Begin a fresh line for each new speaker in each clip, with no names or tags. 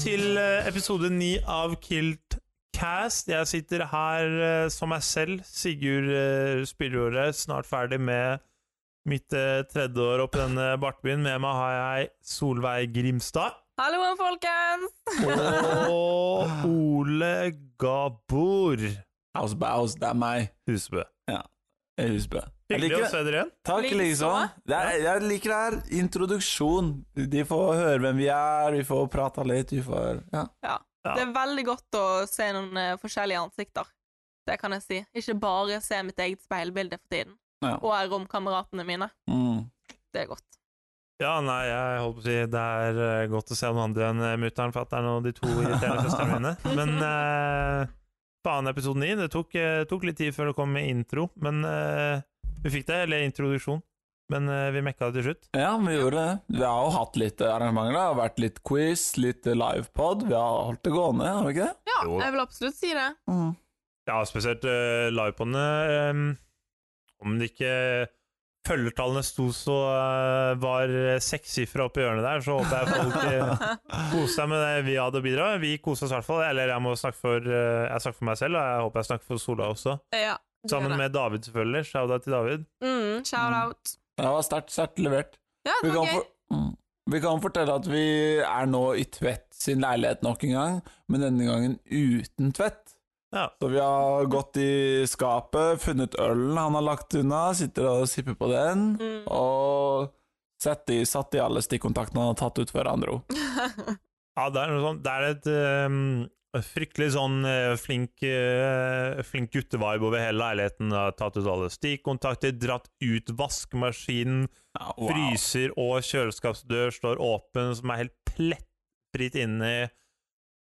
til eh, episode 9 av Kilt Cast. Jeg sitter her eh, som meg selv, Sigurd eh, Spillrordet, snart ferdig med mitt eh, tredje år oppe i denne bartbyen. Med meg har jeg Solveig Grimstad.
Halloen, folkens!
Og Ole Gabor
Ausbaus, det er meg.
Husbø.
Jeg husker det. Jeg
Hyggelig
liker
å
det.
se dere igjen.
Takk,
Likeså.
liksom. Det er, jeg liker det her. Introduksjon. De får høre hvem vi er, vi får prata litt, vi får Ja.
Ja.
Ja.
Det er veldig godt å se noen eh, forskjellige ansikter. Det kan jeg si. Ikke bare se mitt eget speilbilde for tiden.
Ja.
Og romkameratene mine.
Mm.
Det er godt.
Ja, nei, jeg holdt på å si det er eh, godt å se noen andre enn eh, mutter'n, fatter'n og de to irriterende søstrene mine. Men eh, faen, episoden din, det tok, eh, tok litt tid før det kom med intro, men eh, vi fikk det, eller introduksjon. Men eh, vi mekka det til slutt.
Ja, vi gjorde det. Vi har jo hatt litt arrangementer. Det har vært litt quiz, litt livepod. Vi har holdt det gående, har vi ikke det?
Ja, eh,
Jo da.
jeg vil absolutt si det.
Mm.
Ja, spesielt uh, livepodene. ehm, om det ikke følgertallene sto så eh, var sekssifra oppi hjørnet der, så håper jeg folk eh, Kose deg med det vi hadde å bidra med. Vi koser oss i hvert fall. Eller jeg må snakke for, eh, jeg snakker for meg selv, og jeg håper jeg snakker for Sola også.
Ja, det
Sammen
gjør det.
med David, selvfølgelig. Shout-out til David.
mm, Shout out.
Det var sterkt, sterkt levert.
Ja,
Vi
det var
kan,
gøy.
for, mm. vi kan fortelle at vi er nå i Tvedt sin leilighet nok en gang, men denne gangen uten Tvedt.
Ja.
Så vi har gått i skapet, funnet ølen han har lagt unna, sitter og sipper på den,
Mm.
og satt i, satt i alle stikkontaktene han har tatt ut hverandre.
Mm.
Ja, det er noe sånt. Det er et eh, fryktelig sånn eh, flink, uh, flink guttevibe over hele leiligheten. Har tatt ut alle stikkontakter, dratt ut vaskemaskinen,
Ja,
fryser og kjøleskapsdør står åpen, som er helt plettfritt inni.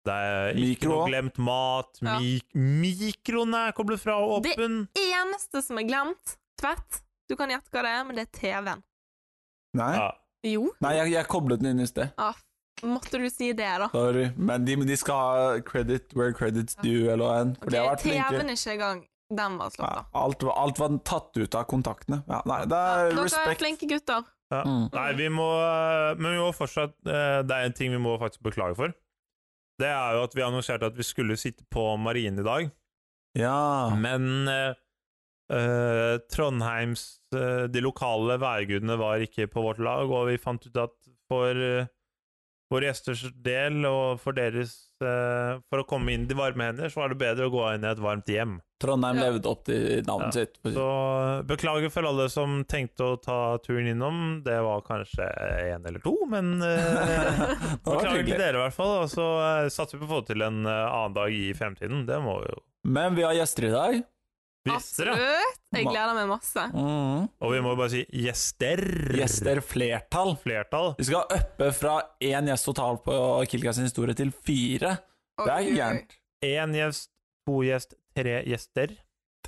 Det er ikke
Mikro
noe
også.
glemt mat.
Ja.
Mik mikroen er koblet fra og
Det-
åpen.
Eneste som er glemt, tvett. Du kan gjette hva det er, men det er TV-en.
Nei,
Ja.
Jo.
Nei jeg, jeg koblet den inn i sted.
Ah, måtte du si det, da?
Sorry, men de, de skal ha credit where credits due, eller en, for
Ok,
de har vært flinke.
TV-en er ikke i gang. Den var slått
Ja,
av.
alt, var- alt var tatt ut av kontaktene. Ja, nei, det er
Dere er
respekt.
flinke gutter.
Ja.
Mm.
Nei, vi må Men vi må fortsatt eh, Det er en ting vi må faktisk beklage for. Det er jo at vi annonserte at vi skulle sitte på Marien i dag,
Ja.
men eh, eh, Trondheims eh, De lokale værgudene var ikke på vårt lag, og vi fant ut at for eh, våre gjesters del og for deres eh, For å komme inn i varme hender, så var det bedre å gå inn i et varmt hjem.
Trondheim
Ja.
levde opp til navnet sitt. for å si-
Så eh, beklager for alle som tenkte å ta turen innom. Det var kanskje én eller to, men eh,
det var
Beklager til
hyggelig.
dere, i hvert fall. Og så eh, satser vi på å få til en eh, annen dag i fremtiden. Det må vi jo
Men vi har gjester i dag.
Gjester, ja.
Absolutt. Jeg gleder meg masse.
Mhm.
Og vi må bare si gjester.
Gjester flertall.
Flertall.
Vi skal uppe fra én gjest totalt på Kilkas historie til fire. Det er
Oi, oi, oi.
gærent.
Én gjest, to gjest, tre gjester.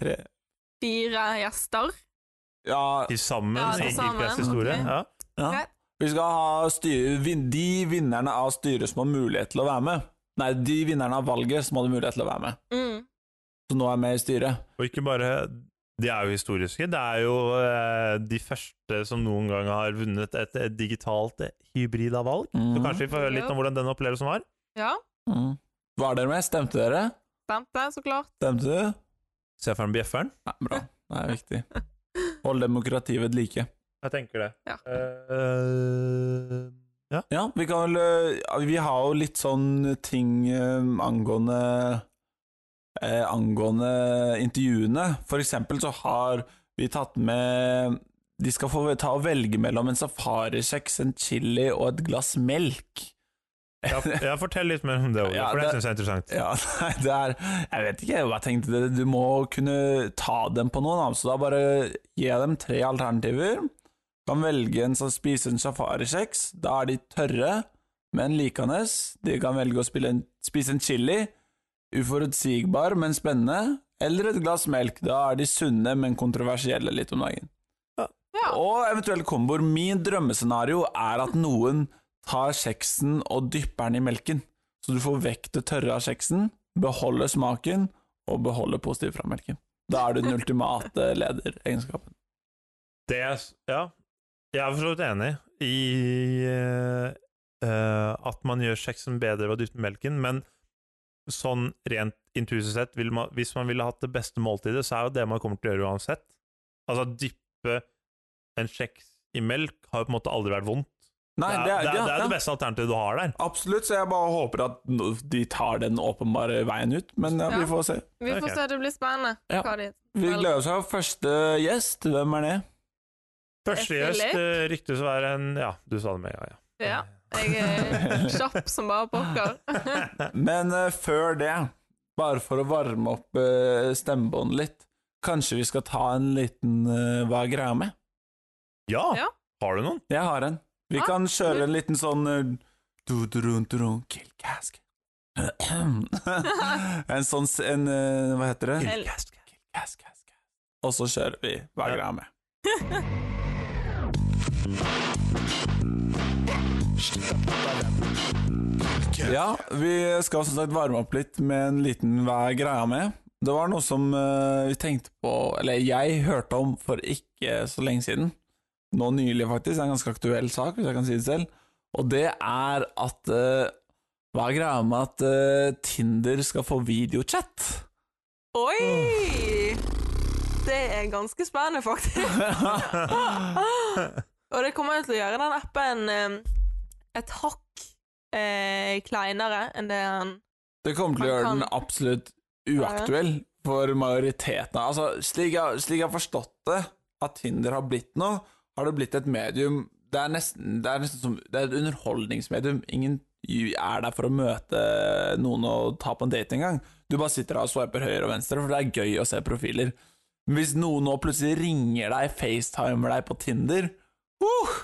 Tre
Fire gjester.
Ja,
Til sammen
Ja,
i
til sammen,
Kirkas historie.
ok.
Ja.
ja. Vi skal ha styre, vin, de vinnerne av styret som har mulighet til å være med. Nei, de vinnerne av valget som hadde mulighet til å være med.
Mm.
Så nå er jeg med i styret.
Og ikke bare De er jo historiske. Det er jo eh, de første som noen gang har vunnet et, et digitalt hybrid av valg. Så
Mhm.
kanskje vi får høre litt om hvordan den opplevelsen var.
Ja,
Mhm. Var dere med? Stemte dere?
stemte, så klart.
Stemte du?
Se for deg bjefferen.
Nei, bra. Det er viktig. Hold demokratiet ved like.
Jeg tenker det.
Ja.
Eh,
Ja, vi kan vel ø, ja, Vi har jo litt sånn ting ø, angående eh, Angående intervjuene. For eksempel så har vi tatt med De skal få ta og velge mellom en safarikjeks, en chili og et glass melk.
ja, ja, fortell litt mer om det, Ole,
Ja,
for det,
det-
synes jeg er interessant.
Ja, nei, det er Jeg vet ikke, jeg bare tenkte det. Du må kunne ta dem på noen, da. Så da bare gi dem tre alternativer. Kan velge en som spiser en safarikjeks. Da er de tørre, men likende. De kan velge å spille en, spise en chili. Uforutsigbar, men spennende. Eller et glass melk. Da er de sunne, men kontroversielle litt om dagen.
Ja.
Og eventuelle komboer. Min drømmescenario er at noen tar kjeksen og dypper den i melken. Så du får vekk det tørre av kjeksen, beholder smaken og beholder positivt fra melken. Da er du den ultimate lederegenskapen.
Det er, s- ja, jeg er for så vidt enig i eh, eh, at man gjør sexen bedre ved å dytte melken, men sånn rent intuitivt sett, vil man, hvis man ville hatt det beste måltidet, så er jo det man kommer til å gjøre uansett. Altså, dyppe en kjeks i melk har jo på en måte aldri vært vondt.
Nei,
det, er, det, er, det, er, det beste alternativet du har der.
Absolutt, så jeg bare håper at no- de tar den åpenbare veien ut, men ja, vi
Ja.
får se.
Vi får
Ok.
se, det blir spennende.
Ja.
Hva de
Vi gleder oss til første gjest. Hvem er det?
Første
Philip?
gjest eh, ryktes å være en Ja, du sa det med en gang, ja.
Ja. Jeg er kjapp som bare pokker.
Men eh, før det, bare for å varme opp eh, stemmebåndet litt, kanskje vi skal ta en liten eh, Hva er greia med?
Ja!
Ja.
Har du noen?
Jeg har en. Vi
Ah,
kan kjøre en liten sånn eh, du, du, du, du, du, Kill cask. en sånn s- en, eh, Hva heter det?
Hell.
Cask, cask, cask. Og så kjører vi Hva er
Ja.
greia med? Ja, vi skal som sagt varme opp litt med en liten Hva er greia med? Det var noe som eh, vi tenkte på, eller jeg hørte om for ikke så lenge siden. Nå nylig, faktisk. Det er en ganske aktuell sak, hvis jeg kan si det selv. Og det er at eh, Hva er greia med at eh, Tinder skal få videochat?
Oi! Det er ganske spennende, faktisk. Og det kommer jo til å gjøre den appen eh, et hakk eh, kleinere enn det han
Det kommer til å
Man
gjøre
kan-
den absolutt uaktuell for majoriteten. Altså, slik jeg, slik jeg har forstått det, at Tinder har blitt noe, har det blitt et medium Det er nesten, det er nesten som Det er et underholdningsmedium. Ingen er der for å møte noen og ta på en date engang. Du bare sitter der og swiper høyre og venstre, for det er gøy å se profiler. Men hvis noen nå plutselig ringer deg, facetimer deg på Tinder, uh,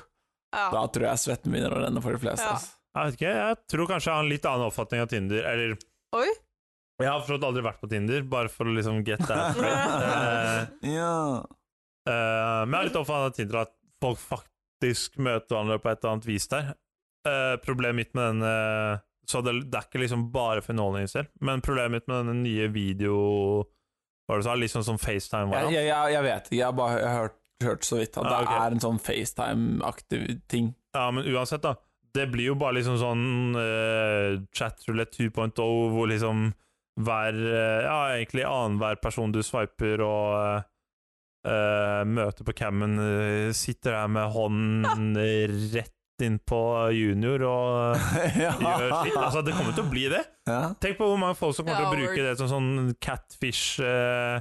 Ja.
da tror jeg svetten begynner å renne for de fleste.
Ja.
ass.
Jeg vet ikke, jeg tror kanskje jeg har en litt annen oppfatning av Tinder, eller
Oi!
Jeg har forstått aldri vært på Tinder, bare for å liksom get that straight. Eh,
Ja.
eh, men jeg har litt oppfatning av Tinder at folk faktisk møter hverandre på et eller annet vis der. Eh, problemet mitt med den eh, Så det, det er ikke liksom bare for underholdningen selv, men problemet mitt med denne nye video... Hva var det du sa? Litt sånn som FaceTime var.
Jeg, jeg, jeg, jeg vet ikke, jeg har bare hø- hørt, hørt så vidt at
Ah, ok.
det er en sånn FaceTime-aktiv ting.
Ja, men uansett, da. Det blir jo bare liksom sånn uh, chatroulette 2.0, hvor liksom hver eh, Ja, egentlig annenhver person du swiper og eh, eh, møter på cammen, eh, sitter der med hånden rett inn på junior og
ja.
gjør sitt. Altså, det kommer til å bli det.
Ja.
Tenk på hvor mange folk som kommer til å
Ja,
bruke det som sånn catfish eh,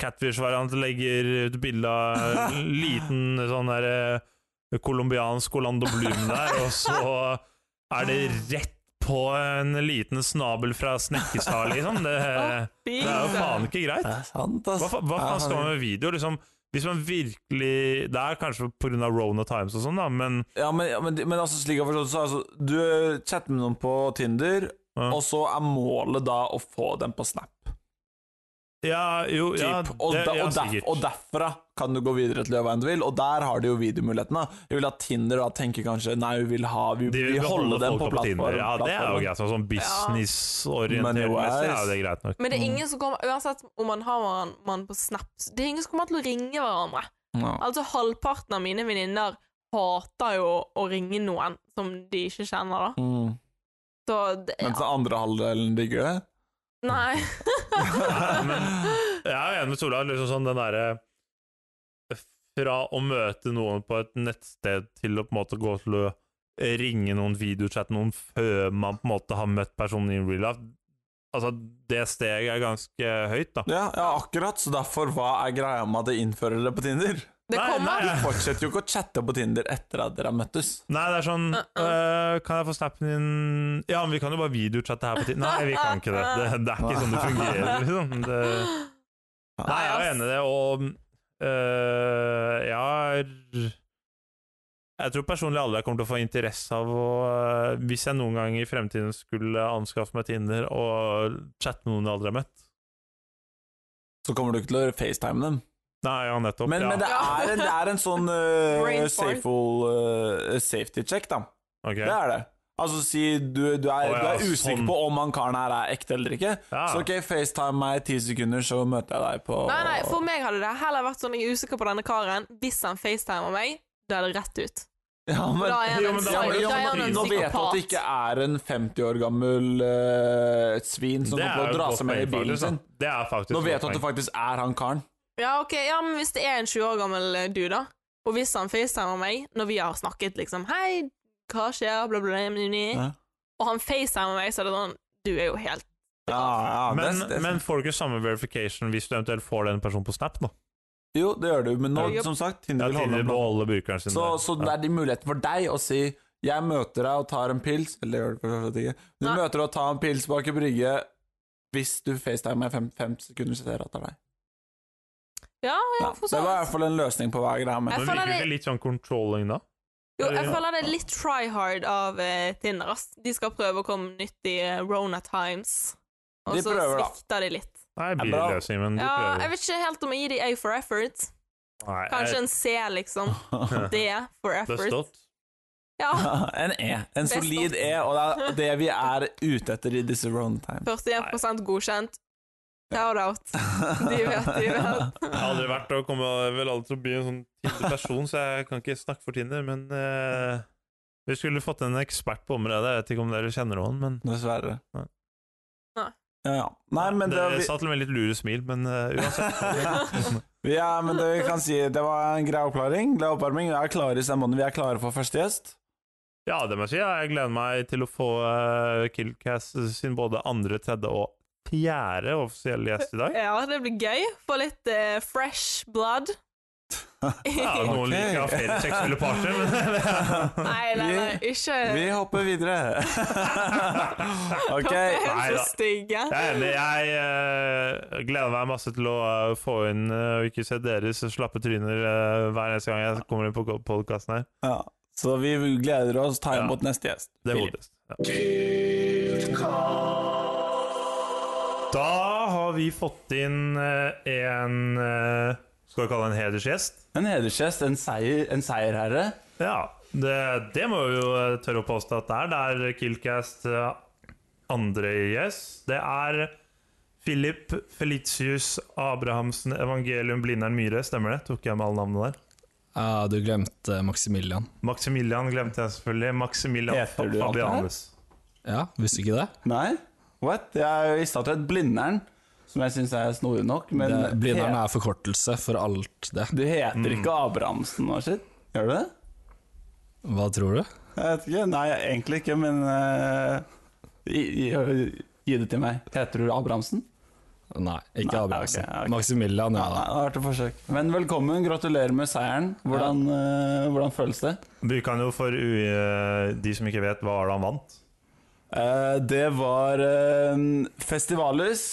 Catfish-variant. Legger ut bilde av en liten sånn der eh, colombiansk Orlando Bloom der, og så er det rett på en liten snabel fra Snekkestad, liksom. Det, det er jo faen ikke greit.
Det er sant, ass.
Hva, fa- hva faen skal man med video? Liksom, hvis man virkelig Det er kanskje pga. Rona Times og sånn, da, men
Ja, men, ja, men, men altså, slik jeg har forstått det, så altså, du chatter med noen på Tinder,
Ja.
og så er målet da å få dem på Snap.
Ja, jo,
Typ.
ja,
og,
det-
da,
ja,
og, derf-
sikkert.
og derfra kan du gå videre til å gjøre hva enn du vil, og der har de jo videomuligheten. da. Jeg vil at Tinder da tenker kanskje Nei, vi vil ha Vi,
De vil
vi holde dem
folk
på
Tinder.
plattformen.
Ja, det er jo
plattformen.
greit. Sånn som
Men
businessorientert
jo,
messig
jeg-
er jo det greit nok.
Men det er ingen som kommer Uansett om man har man, man på Snap, det er ingen som kommer til å ringe hverandre.
Ja.
Altså, halvparten av mine venninner hater jo å ringe noen som de ikke kjenner, da.
Mm.
Så det,
Mens den andre halvdelen digger det.
Nei.
Nei, men jeg er enig med Sola. Liksom sånn den derre eh, Fra å møte noen på et nettsted til å på en måte gå til å ringe noen, videochatte noen før man på en måte har møtt personen in real life Altså, det steget er ganske høyt, da.
Ja, ja, akkurat, så derfor hva er greia med at de innfører det på Tinder?
Det
Nei,
kommer.
nei.
De fortsetter jo ikke å chatte på Tinder etter at dere har møttes.
Nei, det er sånn øh, Kan jeg få snappen din Ja, men vi kan jo bare videochatte her på tid. Nei, vi kan ikke det. Det, det er ikke sånn det fungerer, liksom. Det, nei, jeg er enig i det, og øh, jeg har Jeg tror personlig aldri jeg kommer til å få interesse av å øh, Hvis jeg noen gang i fremtiden skulle anskaffe meg Tinder og chatte med noen jeg aldri har møtt
Så kommer du ikke til å facetime dem.
Nei, ja, nettopp.
Men,
ja.
men det,
Ja.
er en, det er en sånn øh,
Brain fart.
safeful, øh, safety check, da.
Ok.
Det er det. Altså si du, du, er,
Å ja,
du er usikker
sånn. Ah.
på om han karen her er ekte eller ikke.
Ja.
Så ok, facetime meg i ti sekunder, så møter jeg deg på
Nei, nei, for meg hadde det heller vært sånn jeg er usikker på denne karen. Hvis han facetimer meg, da er det rett ut.
Ja, men,
Da er han
Jo,
en
men da- sånn
ja,
psy-
men,
jo
da er han en
nå vet du at det ikke
psykopat.
er en 50 år gammel eh, et svin som kommer til å
jo
dra
godt
seg med i
poeng,
bilen
faktisk, da.
sin.
Det er faktisk
Nå
et
vet
godt
du at det
poeng.
faktisk er han karen.
Ja, ok, ja, men hvis det er en 20 år gammel eh, dude, da, og hvis han facetimer meg når vi har snakket, liksom Hei, hva skjer? Bla, bla, bla, bla, bla.
Ja.
Og han facetimer meg, så er det sånn Du er jo helt
Ja, ja,
men,
det, det,
men får du ikke samme verification hvis du eventuelt får den personen på Snap? nå?
Jo, det gjør du, men nå,
Ja.
som sagt,
Ja,
Tinder vil
Tinder
holde
må
på.
holde brukeren sin
Så,
der.
så det
ja.
er de muligheten for deg å si 'jeg møter deg og tar en pils' Eller det gjør du for så vidt ikke. Du
Nei.
møter og tar en pils bak i brygge hvis du facetimer meg fem, fem sekunder senere at det er deg.
Ja, ja,
Ja,
for
det
så
var i
vidt.
hvert fall en løsning på hver greie. Men
Jeg
Men
føler
virker
det-
ikke litt sånn controlling da?
Jo, jeg føler det er litt try hard av eh, Tinder, ass. De skal prøve å komme nytt i eh, Rona Times, og
De
så
prøver, da.
svikter de litt.
Nei,
Ja,
billig
bra.
løsning, men du
Ja, jeg
prøver.
vet ikke helt om jeg gir de A for effort.
Nei,
Kanskje
jeg-
en C, liksom. D for
det er
effort.
stått.
Ja,
en E. En
Best of.
solid E, og det er det vi er ute etter i disse round times.
41 godkjent. Shout out. De vet, de vet.
Jeg har aldri vært og kommer vel aldri til å bli en sånn Tinder-person, så jeg kan ikke snakke for Tinder, men eh, vi skulle fått en ekspert på området. Jeg vet ikke om dere kjenner noen, men
Dessverre.
Nei.
Nei.
Ja. Nei, men det,
Det
vi,
satt med litt lure smil, men eh, uansett.
vi er, men det vi kan si, det var en grei oppklaring. Glad oppvarming. Vi er klare i semonen. Vi er klare for første gjest.
ja, det må jeg si. Jeg gleder meg til å få eh, Killcast sin både andre, tredje og fjerde offisielle gjest i dag.
Ja, det blir gøy. Få litt eh, fresh blood.
Ja,
nei,
noen
Ok.
liker å ha flere seksuelle parter, men
nei, nei, ikke
Vi hopper videre. ok.
Dere
nei
er
da.
så stygge.
Jeg er enig. Jeg eh, gleder meg masse til å eh, få inn eh, og ikke se deres slappe tryner eh, hver eneste gang jeg kommer inn på podkasten her.
Ja. Så vi gleder oss. Ta imot neste gjest.
Det er
Filip.
hodet. Ja. Da har vi fått inn eh, en eh, Skal vi kalle det en hedersgjest?
En hedersgjest, en, seier, en seierherre.
Ja, det, det må vi jo eh, tørre å påstå at det er. Det er Killcast eh, andre gjest. Det er Philip Felitius Abrahamsen Evangelium Blindern Myhre, stemmer det? Tok jeg med alle navnene der?
Ja, du glemte Maximilian.
Maximilian glemte jeg selvfølgelig. Maximilian
Heter du alt det her?
Fabianus.
Ja, visste ikke det?
Nei, what? Jeg visste at det het Blindern, som jeg syns er snodig nok, men
det Blindern er forkortelse for alt det.
Du heter ikke Abrahamsen og shit? Gjør du det?
Hva tror du?
Jeg vet ikke. Nei, egentlig ikke, men eh, gi, gi, gi det til meg. Heter du Abrahamsen?
Nei, ikke
Nei,
Abrahamsen.
ok, ok.
Maximilian, ja
Nei,
da.
det har vært et forsøk. Men velkommen, gratulerer med seieren. Hvordan, eh, hvordan føles det?
Vi kan jo for u eh, de som ikke vet, hva var det han vant?
Eh, det var eh, Festivalus.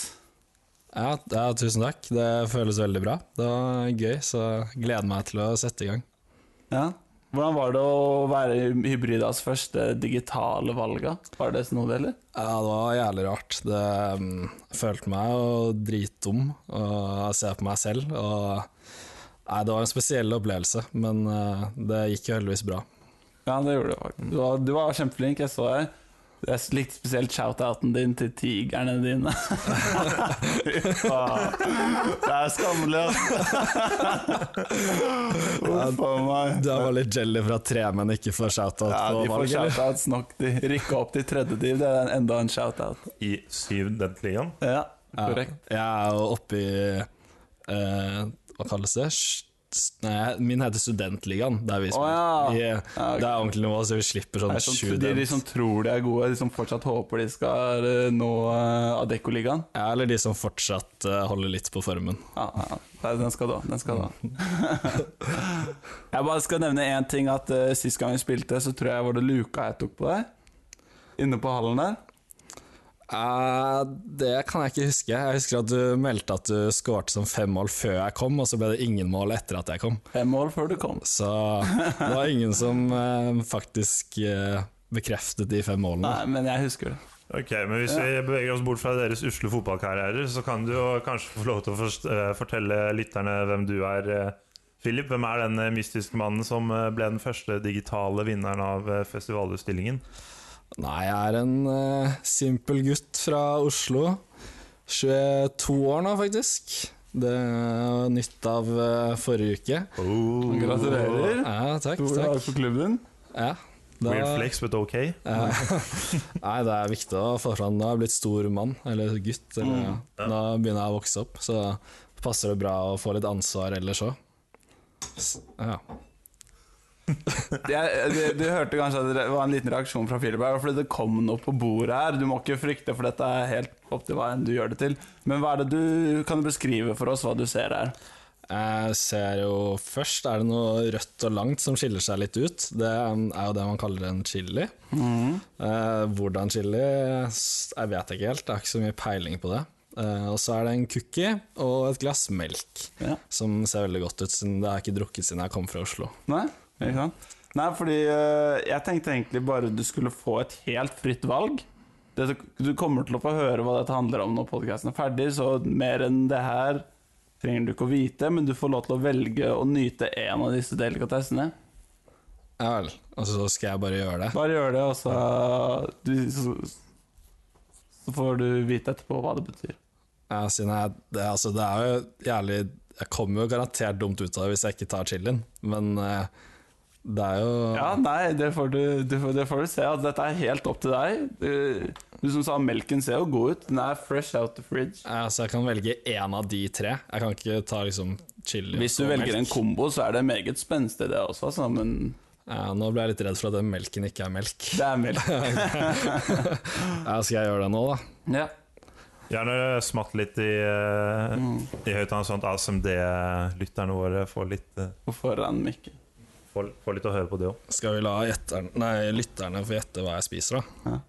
Ja, ja, tusen takk. Det føles veldig bra. Det var gøy, så gleder meg til å sette i gang.
Ja. Hvordan var det å være Hybridas første digitale valga? Var det snodig, eller?
Ja, det var jævlig rart. Det, mm, jeg følte meg jo dritdum å se på meg selv. Og, nei, det var en spesiell opplevelse, men eh, det gikk jo heldigvis bra.
Ja, det gjorde du faktisk. Du var, du var kjempeflink, jeg så deg. Jeg likte spesielt shout-outen din til tigrene dine. Faen. det er skammelig, ass. Uff a meg.
Det var litt jelly for at tre menn ikke får shout-out
Ja,
på
de får
valget, eller?
shout-outs nok. De rykker opp til tredje div, det er enda en shout-out.
I syvdentligaen?
Ja,
Ja,
korrekt.
Jeg er jo oppe i eh, Hva kalles det? St- Nei, min heter Studentligaen. Det er vi som
Å, ja.
vi, eh,
Ja, ok.
Det er ordentlig nivå, så vi slipper sånn
Det er
sju
sånn, de, de som tror de er gode, de som fortsatt håper de skal eh, nå uh, Adeccoligaen.
ja, Eller de som fortsatt eh, holder litt på formen.
Ja, ja, ja. Nei, Den skal du ha. Den skal du ha. Mm. jeg bare skal nevne én ting. At eh, Sist gang vi spilte, så tror jeg var det luka jeg tok på deg. Inne på hallen der.
Eh, det kan jeg ikke huske. Jeg husker at du meldte at du skårte som fem mål før jeg kom, og så ble det ingen mål etter at jeg kom.
Fem mål før du kom.
Så det var ingen som eh, faktisk eh, bekreftet de fem målene.
Nei, men jeg husker det.
Ok, men Hvis vi beveger oss bort fra deres usle fotballkarrierer, så kan du jo kanskje få lov til å forst- eh, fortelle lytterne hvem du er. eh, Philip, hvem er den eh, mystiske mannen som eh, ble den første digitale vinneren av eh, festivalutstillingen?
Nei, jeg er en eh, simpel gutt fra Oslo. 22 år nå, faktisk. Det var nytt av eh, forrige uke.
Oh.
Gratulerer.
Ja, takk,
Stor dag
takk.
for klubben.
Eh, Ja, da-
Weird flex, but ok.
Ja. Nei, det er viktig å få fram. Nå har jeg blitt stor mann, eller gutt. Eller,
Mm.
Ja.
Nå begynner jeg å vokse opp, så passer det bra å få litt ansvar ellers òg. Ja.
Jeg, du, eh, du hørte kanskje at det var en liten reaksjon fra Philip her, fordi det kom noe på bordet her. Du må ikke frykte, for dette er helt opp til hva enn du gjør det til. Men hva er det du kan du beskrive for oss hva du ser her?
Jeg ser jo først er det noe rødt og langt som skiller seg litt ut. Det er jo det man kaller en chili. Eh, hvordan chili s- Jeg vet ikke helt, jeg har ikke så mye peiling på det. Eh, og så er det en cookie og et glass melk,
Ja.
som ser veldig godt ut, siden det har jeg ikke drukket siden jeg kom fra Oslo.
Nei? Ikke sant? Nei, fordi øh, jeg tenkte egentlig bare du skulle få et helt fritt valg. Dette, du kommer til å få høre hva dette handler om når podkasten er ferdig, så mer enn det her trenger du ikke å vite, men du får lov til å velge å nyte en av disse delikatessene.
Ja vel. Og så skal jeg bare gjøre det.
Bare gjør det, og så, du, så, så får du vite etterpå hva det betyr.
Ja, siden jeg, det, altså, det er jo jævlig Jeg kommer jo garantert dumt ut av det hvis jeg ikke tar chilien, men eh, det er jo
Ja, nei, det får du, du, får- det får du se. At dette er helt opp til deg. Du, du som sa melken ser jo god ut. Den er fresh out the fridge.
Ja, så Eh, altså, jeg kan velge én av de tre. Jeg kan ikke ta liksom chili.
Hvis du
og
velger en
melk.
kombo, så er det meget spenstig, det også, altså. Men
Ja, Eh, nå ble jeg litt redd for at den melken ikke er melk.
det er melk.
Ja, skal jeg gjøre det nå, da?
Ja.
Gjerne smatt litt i, eh, i høyttaleren, sånn at ASMD-lytterne våre får litt, eh,
Og foran mikken.
får, får litt å høre på det òg.
Skal vi la gjetteren, nei, lytterne få gjette hva jeg spiser, da?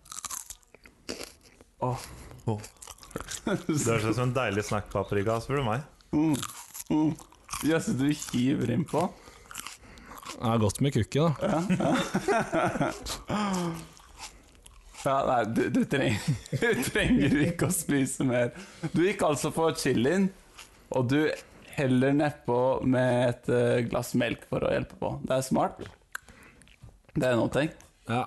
Åh.
Det høres ut som en deilig snackpaprika, spør du meg.
Mm. Mm. Jøss, du hiver innpå.
Jeg har godt med cookie, da.
Ja, nei, du, du, trenger, du trenger ikke å spise mer. Du gikk altså for chilien, og du heller nedpå med et eh, glass melk for å hjelpe på. Det er smart. Det er noe tenkt.
Ja.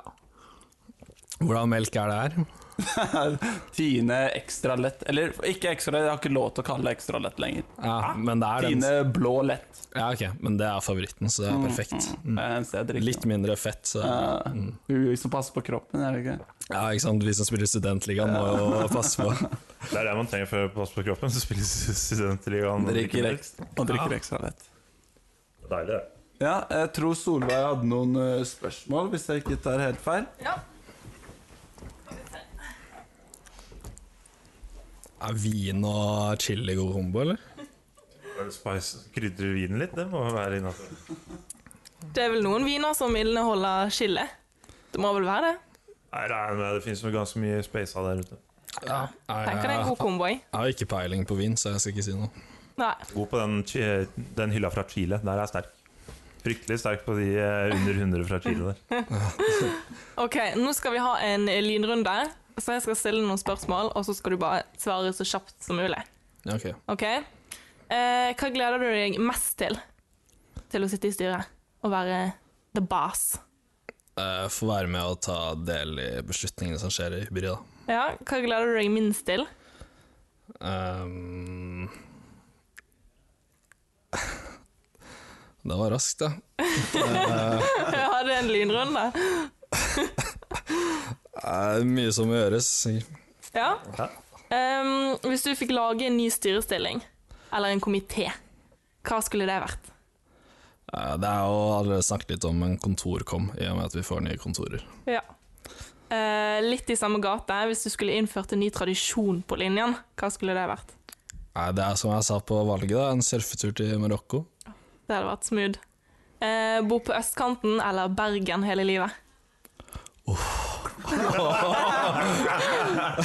Hvordan melk er det her?
Tine ekstra lett Eller ikke ekstra, jeg har ikke lov til å kalle det ekstra lett lenger.
Ja, men det er den
Tine blå lett.
Ja, ok, men det er favoritten, så det er perfekt.
Det er eneste jeg drikker.
Litt mindre fett, så
Mm. Ja, Hun som passer liksom på kroppen, er det ikke?
Ja, ikke sant, vi som spiller Studentligaen må jo passe på.
Det er det man trenger for å passe på kroppen, så spiller studentligaen og drikker melk.
Og drikker ekstra lett.
Deilig, det.
Ja, jeg tror Solveig hadde noen eh, spørsmål, hvis jeg ikke tar helt feil.
Ja.
Er vin og chili god kombo, eller?
Bare Spice, krydre vinen litt, det må være innafor.
Det er vel noen viner som inneholder chili. Det må vel være det?
Nei, regner med det finnes jo ganske mye space av der ute.
Ja.
Tenker det er en god kombo. jeg.
Jeg har ikke peiling på vin, så jeg skal ikke si noe.
Nei.
God på den, chi- den hylla fra Chile. Der er jeg sterk. Fryktelig sterk på de eh, under 100 fra Chile der.
OK, nå skal vi ha en lynrunde. Så jeg skal stille noen spørsmål, og så skal du bare svare så kjapt som mulig.
Ja, ok.
OK? Eh, hva gleder du deg mest til til å sitte i styret og være the boss?
Eh, Få være med og ta del i beslutningene som skjer i hybrid, da.
Ja, hva gleder du deg minst til?
Ehm. det var raskt, da.
Jeg hadde en lynrunde.
Eh, mye som må gjøres.
Ja.
Ja.
Ehm, hvis du fikk lage en ny styrestilling, eller en komité, hva skulle det vært?
Eh, det er jo allerede snakket litt om en kontorkom, i og med at vi får nye kontorer.
Ja. Eh, litt i samme gate, hvis du skulle innført en ny tradisjon på linjen, hva skulle det vært?
Nei, Eh, det er som jeg sa på valget, da, en surfetur til Marokko.
Det hadde vært smooth. Eh, bo på østkanten eller Bergen hele livet?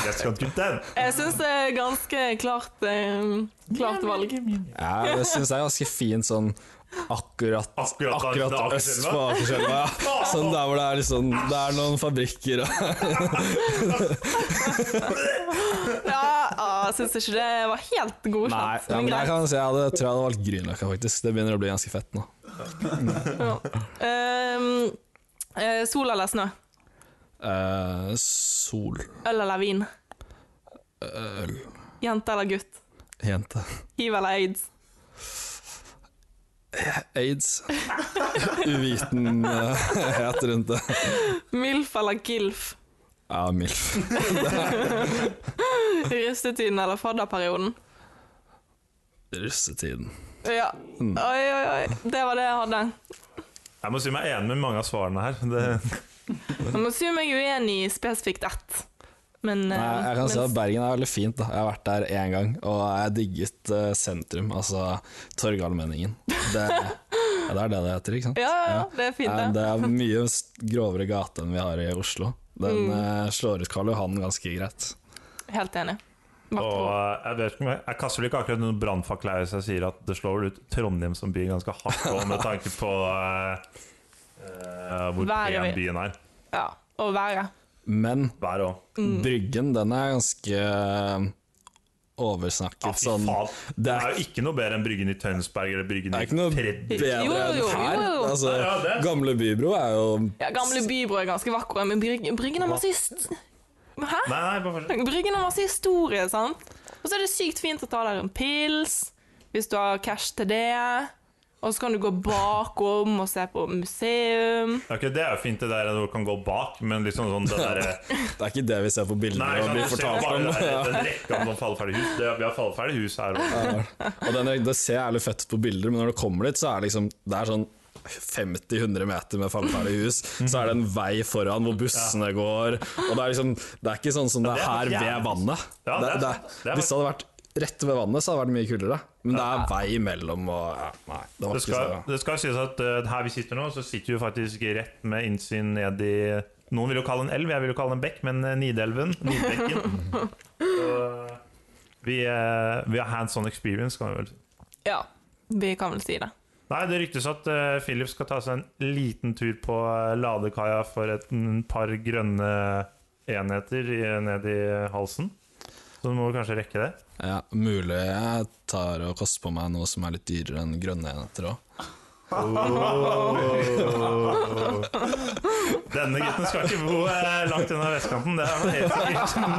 Let's go get them!
Jeg syns det er ganske klart, eh, klart valg.
Ja, Eh, det syns jeg er ganske fint sånn akkurat
Akkurat,
Akkurat
da- da-
øst på Akerselva. Ja. Sånn der hvor det er, liksom, det er noen fabrikker og
Ja, ah, jeg syns ikke det var helt
Nei,
godkjent.
ja, men jeg kan si jeg hadde, tror jeg hadde valgt Grünerløkka, faktisk. Det begynner å bli ganske fett nå. sånn.
Ja. Ehm, eh, sol eller snø?
Eh, sol eh,
Øl eller vin?
Øl.
Jente eller gutt?
Jente.
Hiv eller aids?
Aids. Uvitenhet rundt det.
Milf eller gilf?
Ja, MILF.
Rustetiden eller fadderperioden?
Russetiden.
Ja.
Mm.
Oi, oi, oi. Det var det jeg hadde.
Jeg må si meg enig med mange av svarene her. Det,
Jeg må si meg uenig i spesifikt ett. Men
Nei,
eh,
jeg kan si
men-
at Bergen er veldig fint. da Jeg har vært der én gang, og jeg digget eh, sentrum, altså Torgallmenningen. Det, ja, det er det det heter, ikke sant?
Ja, ja, ja, det er
Eh,
fint, det.
Det er mye s- grovere gate enn vi har i Oslo. Den eh, slår ut Karl Johan ganske greit.
Helt enig.
og
Vaktbro.
eh, jeg, vet ikke, om jeg jeg kaster vel ikke akkurat noen brannfakkel her hvis jeg sier at det slår vel ut Trondheim som by ganske hardt på, med tanke på eh, eh, hvor
Været
pen
vi-
byen er.
Ja. Og været.
Men
Været òg.
Bryggen, den er ganske eh, oversnakket.
Fy
sånn,
faen.
det
Det
er,
er jo ikke noe bedre enn Bryggen i Tønsberg eller Bryggen
det er
i
ikke noe
Tredje.
bedre
Jo, jo, jo,
enn her.
jo.
Altså,
Ja, det er-
gamle Bybro er jo
Ja, gamle Bybro er ganske vakre, men Bryg Bryggen har masse hist- Hæ?
Nei, nei, bare fortsett.
Bryggen har masse historie, sant? Og så er det sykt fint å ta der en pils, hvis du har cash til det. Og så kan du gå bakom og se på museum.
Ok, det er jo fint det der når du kan gå bak, men liksom sånn det derre
Det er ikke det vi ser på bildene
Nei,
og
sånn,
blir
du ser
fortalt
bare
om.
det der, den rekka med sånn falleferdig hus. Det, vi har falleferdig hus her òg.
Og den, er- det ser jævlig fett ut på bilder, men når du kommer dit, så er det liksom Det er sånn 50-100 meter med falleferdig hus, så er det en vei foran hvor bussene går, og det er liksom Det er ikke sånn som det
det
er
er
her
jævlig.
ved vannet.
Ja,
det,
det er
det,
sant. Det er
hvis det hadde vært rett ved vannet, så hadde det vært mye kulere. Men det er vei imellom og ja, Nei, det var
Det
ikke
skal,
så
det skal sies at eh, her vi sitter nå, så sitter vi faktisk rett med innsyn ned i Noen vil jo kalle det en elv, jeg vil jo kalle det en bekk, men eh, Nidelven, Nidbekken. Så, vi, eh, vi har hands on experience, kan vi vel si.
Ja, vi kan vel si det.
Nei, det ryktes at eh, Philip skal ta seg en liten tur på eh, ladekaia for et en par grønne enheter i, ned i halsen. Så du må vel kanskje rekke det.
Ja, mulig jeg tar og koster på meg noe som er litt dyrere enn grønne enheter òg.
Denne gutten skal ikke bo eh, langt unna vestkanten, det er vel helt sikkert.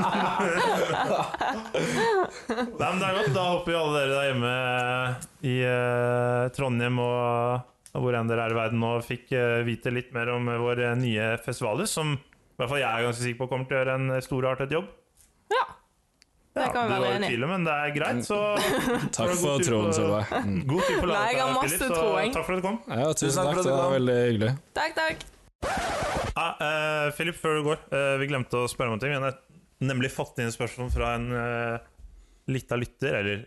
Nei, men det er godt. Da håper vi alle dere der hjemme eh, i eh, Trondheim og og hvor enn dere er i verden nå, fikk eh, vite litt mer om eh, vår eh, nye festivaler, som i hvert fall jeg er ganske sikker på kommer til å gjøre en eh, storartet jobb.
Ja. Det kan vi
du var
være
i
enig i.
tvil, men det er greit, så
Takk
god
for
tur
troen,
på-
Solveig. Mm.
god tid på
Nei, jeg har
laget,
masse
Philip, så
troing.
takk for at du kom.
Ja, tusen takk,
for at
det
du
var
kom.
veldig hyggelig.
Takk, takk.
Ja, eh, Philip, før du går, eh, vi glemte å spørre om en ting. Vi har nemlig fått inn et spørsmål fra en uh, lita lytter, eller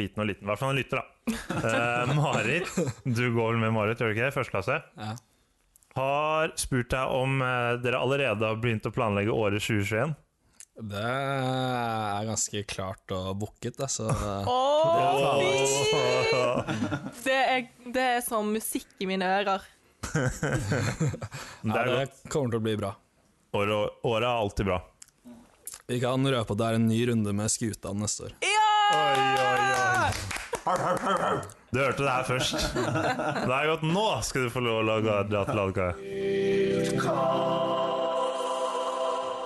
liten og liten, i hvert fall en lytter, da. Eh, Marit, du går vel med Marit, gjør du ikke det? Første klasse.
Ja.
Har spurt deg om eh, dere allerede har begynt å planlegge året 2021.
Det er ganske klart og booket, altså. det, så
Å, fy! det, er, det er som musikk i mine ører.
Det
ja,
er
det
godt.
kommer til å bli bra.
Året, året er alltid bra.
Vi kan røpe at det er en ny runde med skuta neste år.
Ja!
Du hørte det her først. Det er godt. Nå skal du få lov å lage dra til ladekaia.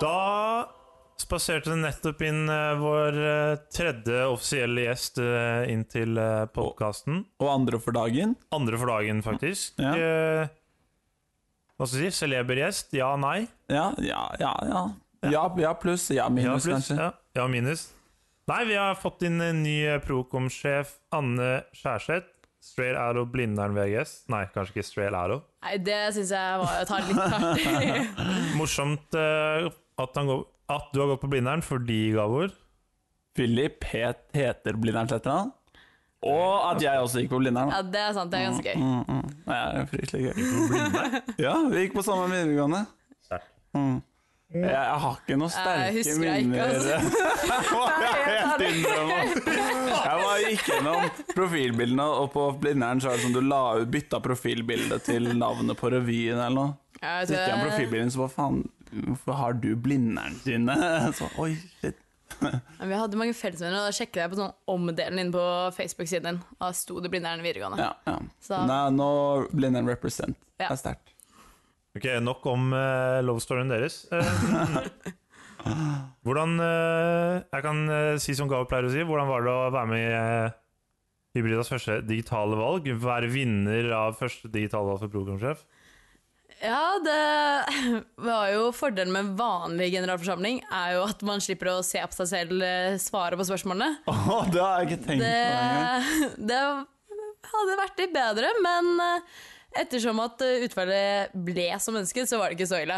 Da spaserte det nettopp inn eh, vår eh, tredje offisielle gjest eh, inn til podkasten.
Og andre for dagen.
Andre for dagen, faktisk.
Ja.
Eh, Hva skal jeg si? Celeber gjest? Ja, nei?
Ja, ja, ja. Ja, ja, ja pluss. Ja
Ja,
minus,
pluss.
kanskje.
Ja, ja minus. Nei, vi har fått inn en ny eh, Procom-sjef, Anne Skjærseth. Straight Arrow Blindern VGS. Nei, kanskje ikke Straight Arrow.
Nei, det syns jeg var å ta det litt hardt.
Morsomt eh, at, han går, at du har gått på Blindern fordi, Gabor
Philip het, heter Blindern til etternavn. Og at jeg også gikk på Blindern.
Ja, det er sant. Det er ganske gøy.
Mm, mm. Ja, det er fryktelig gøy. Ja, vi gikk på samme videregående.
Sterkt.
Mm. Jeg, jeg har ikke noen
Jeg
sterke
husker jeg ikke, altså.
minner Jeg må helt innrømme Jeg var gikk gjennom profilbildene, og på Blindern så er det som du la ut bytta profilbilde til navnet på revyen eller noe.
Jeg
Så gikk jeg med
vet,
profilbilden, så hva faen Hvorfor har du blinderen dine? Så, oi, shit.
eh, vi hadde mange fellesvenner, og da sjekket jeg på sånn omdelen inne på Facebook-siden din. Og da sto det Blindern videregående.
Ja, ja.
Så-
Nei, nå blinderen represent. Det
Ja.
er sterkt.
Ok, nok om eh, love storyen deres. Eh, hvordan eh, Jeg kan eh, si som Gabor pleier å si, hvordan var det å være med i, eh, Hybridas første digitale valg. Vær vinner av første digitale valg for programsjef.
Ja, det var jo fordelen med vanlig generalforsamling, er jo at man slipper å se på seg selv eh, svare på spørsmålene.
Åh, det har jeg ikke tenkt på engang.
Det, Eh, det hadde vært litt bedre, men eh, ettersom at eh, utfallet ble som ønsket, så var det ikke så ille.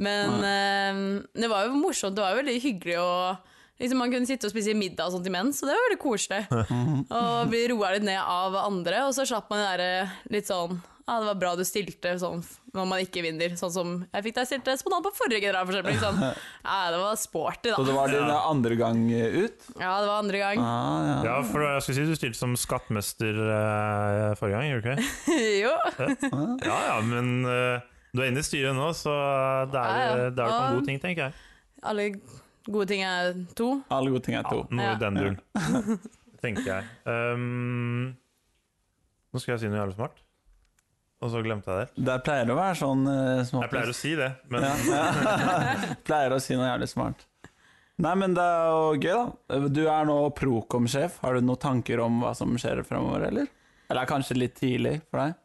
Men eh, det var jo morsomt, det var jo veldig hyggelig å liksom Man kunne sitte og spise middag og sånt imens, og det var veldig koselig.
Mhm.
Og bli roa litt ned av andre, og så slapp man det derre litt sånn Ja, ah, det var bra du stilte sånn når man ikke vinner, sånn som jeg fikk deg stilt eh, spontant på forrige generalforsamling. Sånn. Ja, det var sporty,
Så
da.
det var din andre gang eh, ut?
Ja, det var andre gang.
Ah, ja.
Ja, for jeg skulle si du stilte som skattmester eh, forrige gang, gjorde du ikke det?
jo.
Ja ja, men eh, du er inne i styret nå, så eh, det er,
Ja, ja.
det er jo på en
Og-
god ting, tenker jeg.
Alle gode ting er to.
Alle gode ting er to.
Noe
Ja.
i den duren, tenker jeg. Um, nå skal jeg si noe jævlig smart, og så glemte jeg det.
Det pleier å være sånn uh,
Jeg pleier å si det, men
ja. pleier å si noe jævlig smart. Nei, men det er jo gøy, da. Eh, Du er nå Procom-sjef. Har du noen tanker om hva som skjer fremover, eller? Eller er kanskje litt tidlig for deg?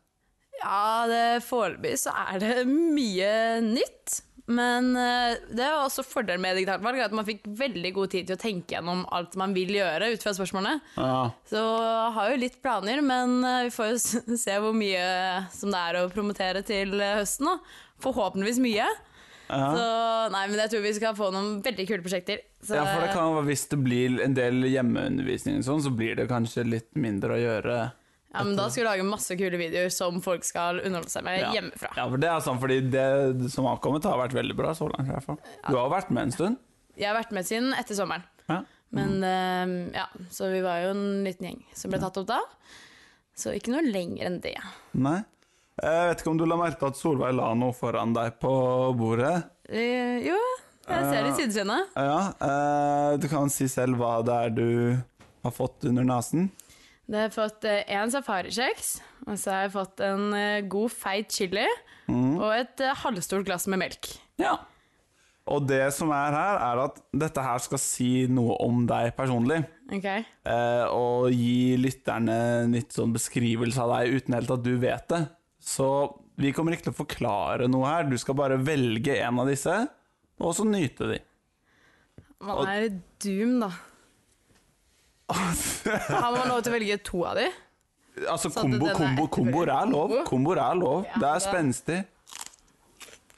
Ja, det foreløpig så er det mye nytt. Men eh, det var også fordelen med digitalt valg, at man fikk veldig god tid til å tenke gjennom alt man vil gjøre ut fra spørsmålene.
Ja.
Så jeg har jo litt planer, men eh, vi får jo s- se hvor mye som det er å promotere til eh, høsten. Da. Forhåpentligvis mye. Så nei, men jeg tror vi skal få noen veldig kule prosjekter. Så,
ja, for det kan jo være Hvis det blir en del hjemmeundervisning, og sånn, så blir det kanskje litt mindre å gjøre.
ja, men da skal vi lage masse kule videoer som folk skal underholde seg med
Ja.
hjemmefra.
Ja, for det er sånn, fordi det som har kommet, har vært veldig bra så langt. i hvert fall. Du har jo vært med en stund.
Jeg har vært med siden etter sommeren.
Ja.
Men eh, ja, så vi var jo en liten gjeng som ble tatt opp da. Så ikke noe lenger enn det.
Nei. Eh, Jeg vet ikke om du la merke til at Solveig la noe foran deg på bordet.
Eh, jo, jeg ser det i sidesynet.
Ja, eh, du kan si selv hva det er du har fått under nesen.
Det har jeg fått én safarikjeks, og så har jeg fått en eh, god, feit chili og et eh, halvstort glass med melk.
Ja. Og det som er her, er at dette her skal si noe om deg personlig.
Ok?
eh, og gi lytterne en litt sånn beskrivelse av deg uten helt at du vet det. Så vi kommer ikke til å forklare noe her. Du skal bare velge en av disse, og så nyte de.
Man er litt doom, da. Har man lov til å velge to av de?
Altså
Så Sånn
kombo,
at den er
kombo,
etterfølgelig.
komboer er lov.
Kombo?
Komboer er lov.
Ja,
det er
da-
spenstig.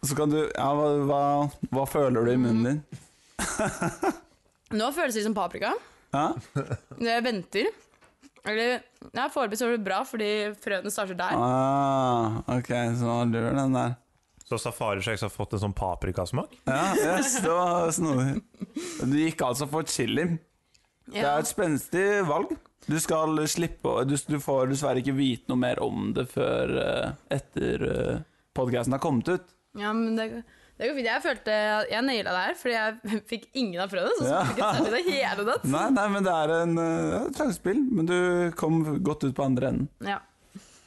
Så kan du Ja, hva, hva, hva føler du i munnen din?
Nå føles det som paprika.
Ja?
Når jeg venter Eller ja, foreløpig så går det bra, fordi frøene starter der.
Ah, ok, så han lurer den der.
så Safari Shakes har fått en sånn paprikasmak.
Ja, yes, det var snodig. Du gikk altså for chili. Det
Ja.
er et spenstig valg. Du skal slippe å du, du får dessverre ikke vite noe mer om det før eh, etter uh, podkasten har kommet ut.
Ja, men det, det går fint. Jeg følte at jeg naila det her, fordi jeg fikk ingen av prøvene. Så
Ja.
jeg fikk jeg særlig det hele tatt.
Nei, nei, men det er en, eh, et sjansespill. Men du kom godt ut på andre enden.
Ja.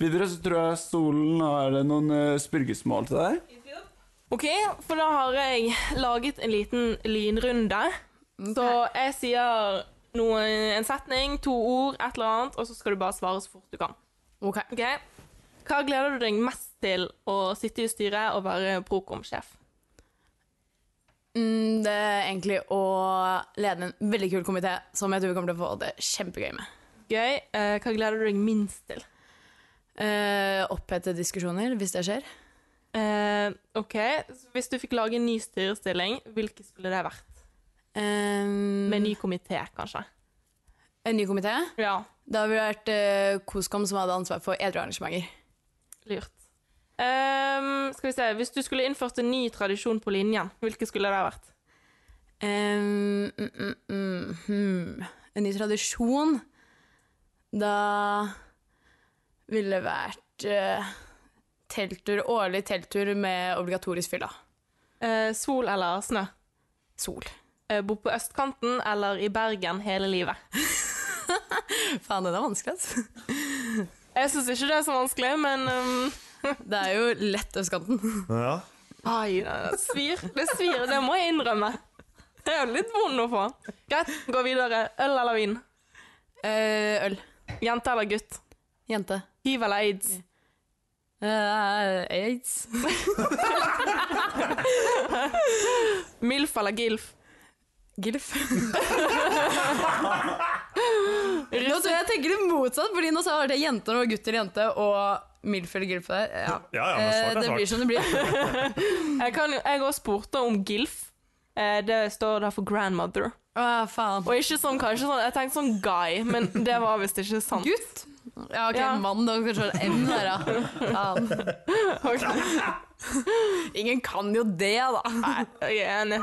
Videre så tror jeg stolen har noen eh, spurgesmål til deg.
OK, for da har jeg laget en liten lynrunde.
Mm,
Så jeg sier noe, en setning, to ord, et eller annet, og så skal du bare svare så fort du kan.
Ok.
Ok? Hva gleder du deg mest til å sitte i styret og være Procom-sjef?
Mm, det er egentlig å lede en veldig kul komité som jeg tror vi kommer til å få det kjempegøy med.
Gøy. Eh, hva gleder du deg minst til?
Uh, Opphete diskusjoner, hvis det skjer.
Eh, OK, så hvis du fikk lage en ny styrestilling, hvilken skulle det vært?
Eh,
Med ny komité, kanskje?
En ny komité?
Ja,
Da ville det vært eh, KOSKOM som hadde ansvar for edru arrangementer.
lurt. Ehm, skal vi se, Hvis du skulle innført en ny tradisjon på linjen, hvilken skulle det ha vært?
Eh, mm, mm, mm, hmm. En ny tradisjon Da ville det vært eh, telttur, årlig telttur med obligatorisk fylla.
Eh, sol eller snø?
Sol.
Eh, bo på østkanten eller i Bergen hele livet?
Faen, den er vanskelig, altså.
Jeg syns ikke det er så vanskelig, men um,
Det er jo lett østkanten.
Ja.
Ai, det svir. Det svir, det må jeg innrømme. Det er jo litt vond å få. Greit, gå videre. Øl eller vin?
Eh, øl.
Greit. Jente eller gutt?
Jente.
Hiv eller aids?
Eh, aids.
Milf eller gilf?
Gilf. nå tror jeg jeg tenker det motsatt, Fordi nå sa jeg det jenter og gutter jente og milf eller gilf. der. Ja.
Ja, ja, men
Eh,
svart er
det
svart.
blir som det blir.
Jeg, kan, jo- jeg også spurte om gilf. Eh, Det står der for grandmother.
Å, faen.
Og ikke sånn, kanskje sånn, jeg tenkte sånn guy, men det var visst ikke sant.
Gutt? Ja, ok,
Ja.
mann. Da kanskje det er M der, da. Faen. Ingen kan jo det, da.
Nei, jeg er enig.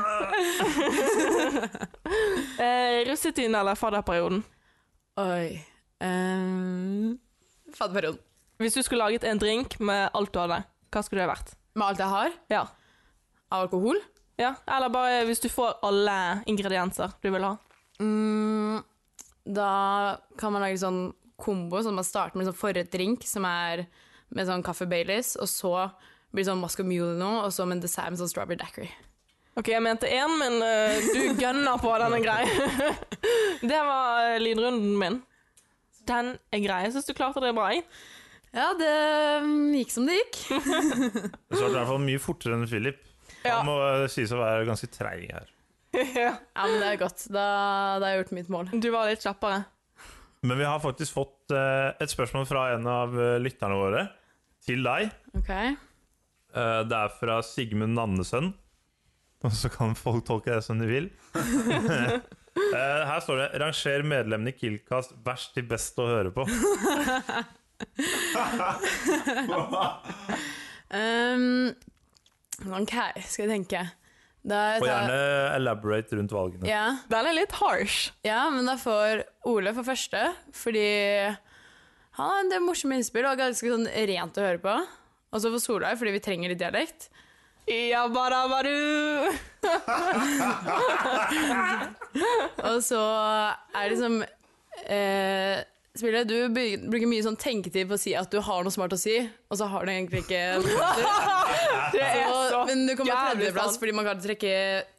eh, russetiden eller fadderperioden?
Oi. Um, Fadderperioden.
Hvis du skulle laget en drink med alt du hadde, hva skulle det vært?
Med alt jeg har
Ja.
av alkohol.
ja. Eller bare hvis du får alle ingredienser du vil ha.
Mm, da kan man lage sånn kombo, sånn at man starter med sånn forrettdrink, som er med sånn kaffe Baileys, og så blir det sånn mascomulino, og så med en dessert med sånn strawberry daiquiri.
Ok, jeg mente én, men eh, du gønner på denne greia. det var eh, lynrunden min. Den er grei. Jeg syns du klarte det bra. Jeg.
Ja, det mm, gikk som det gikk.
Du svarte i hvert fall mye fortere enn Philip.
Ja.
Han må eh, sies å være ganske treig her.
ja.
Ja, men det er godt. Da, da har jeg gjort mitt mål.
Du var litt kjappere.
Men vi har faktisk fått eh, et spørsmål fra en av eh, lytterne våre til deg.
Ok.
Eh, det er fra Sigmund Nandesønn. Og så kan folk tolke det som de vil. Eh, her står det 'Ranger medlemmene i Killcast verst til best å høre på'.
Um, ok, sånn skal jeg tenke. Da
Og
tar,
gjerne elaborate rundt valgene.
Altså- ja,
Den er litt harsh.
Ja, men da får Ole for første, fordi han har en del morsomme innspill og er ganske sånn rent å høre på. Og så får Solveig, fordi vi trenger litt dialekt.
Ja, barabaru.
Og så er det liksom eh, Spiller, du by- bruker mye sånn tenketid på å si at du har noe smart å si, og så har du egentlig ikke
Det er
og,
så
Men du kommer på
jævlig
tredjeplass
sant.
fordi man kan trekke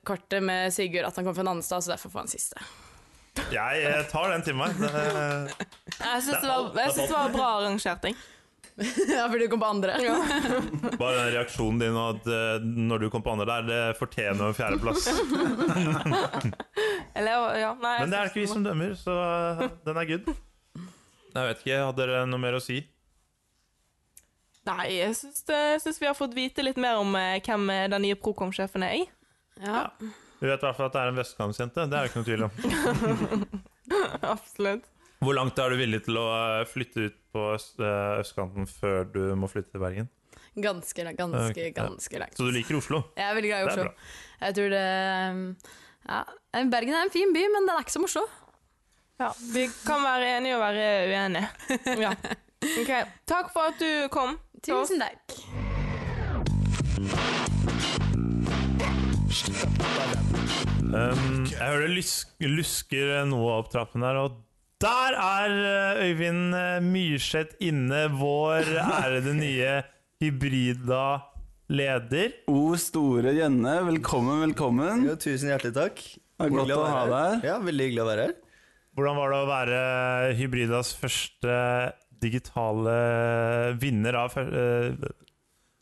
kartet med Sigurd at han kommer fra Nannestad, så derfor får han siste.
Jeg eh, tar den til meg. Det-
Jeg syns det, var- jeg syns det var bra arrangert. jeg.
ja, fordi du kom på andre.
Bare den reaksjonen din og at eh, når du kom på andre der, det fortjener en fjerdeplass.
Eller, ja, nei, jeg
Men det er
syns
ikke vi som dømmer, så eh, den er good. Jeg vet ikke, Hadde dere noe mer å si?
Nei, jeg syns, det, jeg syns vi har fått vite litt mer om eh, hvem eh, den nye Procom-sjefen er. jeg.
Ja.
Vi vet i hvert fall at det er en vestkantsjente. Det er det ikke noe tvil om.
Absolutt.
Hvor langt er du villig til å eh, flytte ut på øst, eh, østkanten før du må flytte til Bergen?
Ganske, langt, ganske,
Ok, ja.
ganske langt.
Så du liker Oslo?
Jeg er veldig glad i
Det er
Oslo. Jeg tror det um, ja, Bergen er en fin by, men den er ikke som Oslo.
Ja, vi kan være enige og være uenige. Ja. Ok, Takk for at du kom. til oss.
Tusen takk.
Um, jeg hører det lysk, lusker noe opp trappen her, og der er eh, Øyvind eh, Myrseth inne, vår ærede nye hybrida leder.
O store Jønne, velkommen, velkommen.
Jo, tusen hjertelig takk.
Det er godt
Hyggelig
å ha
være
deg her.
Ja, veldig hyggelig å være her.
Hvordan var det å være hybridas første digitale vinner av før- eh,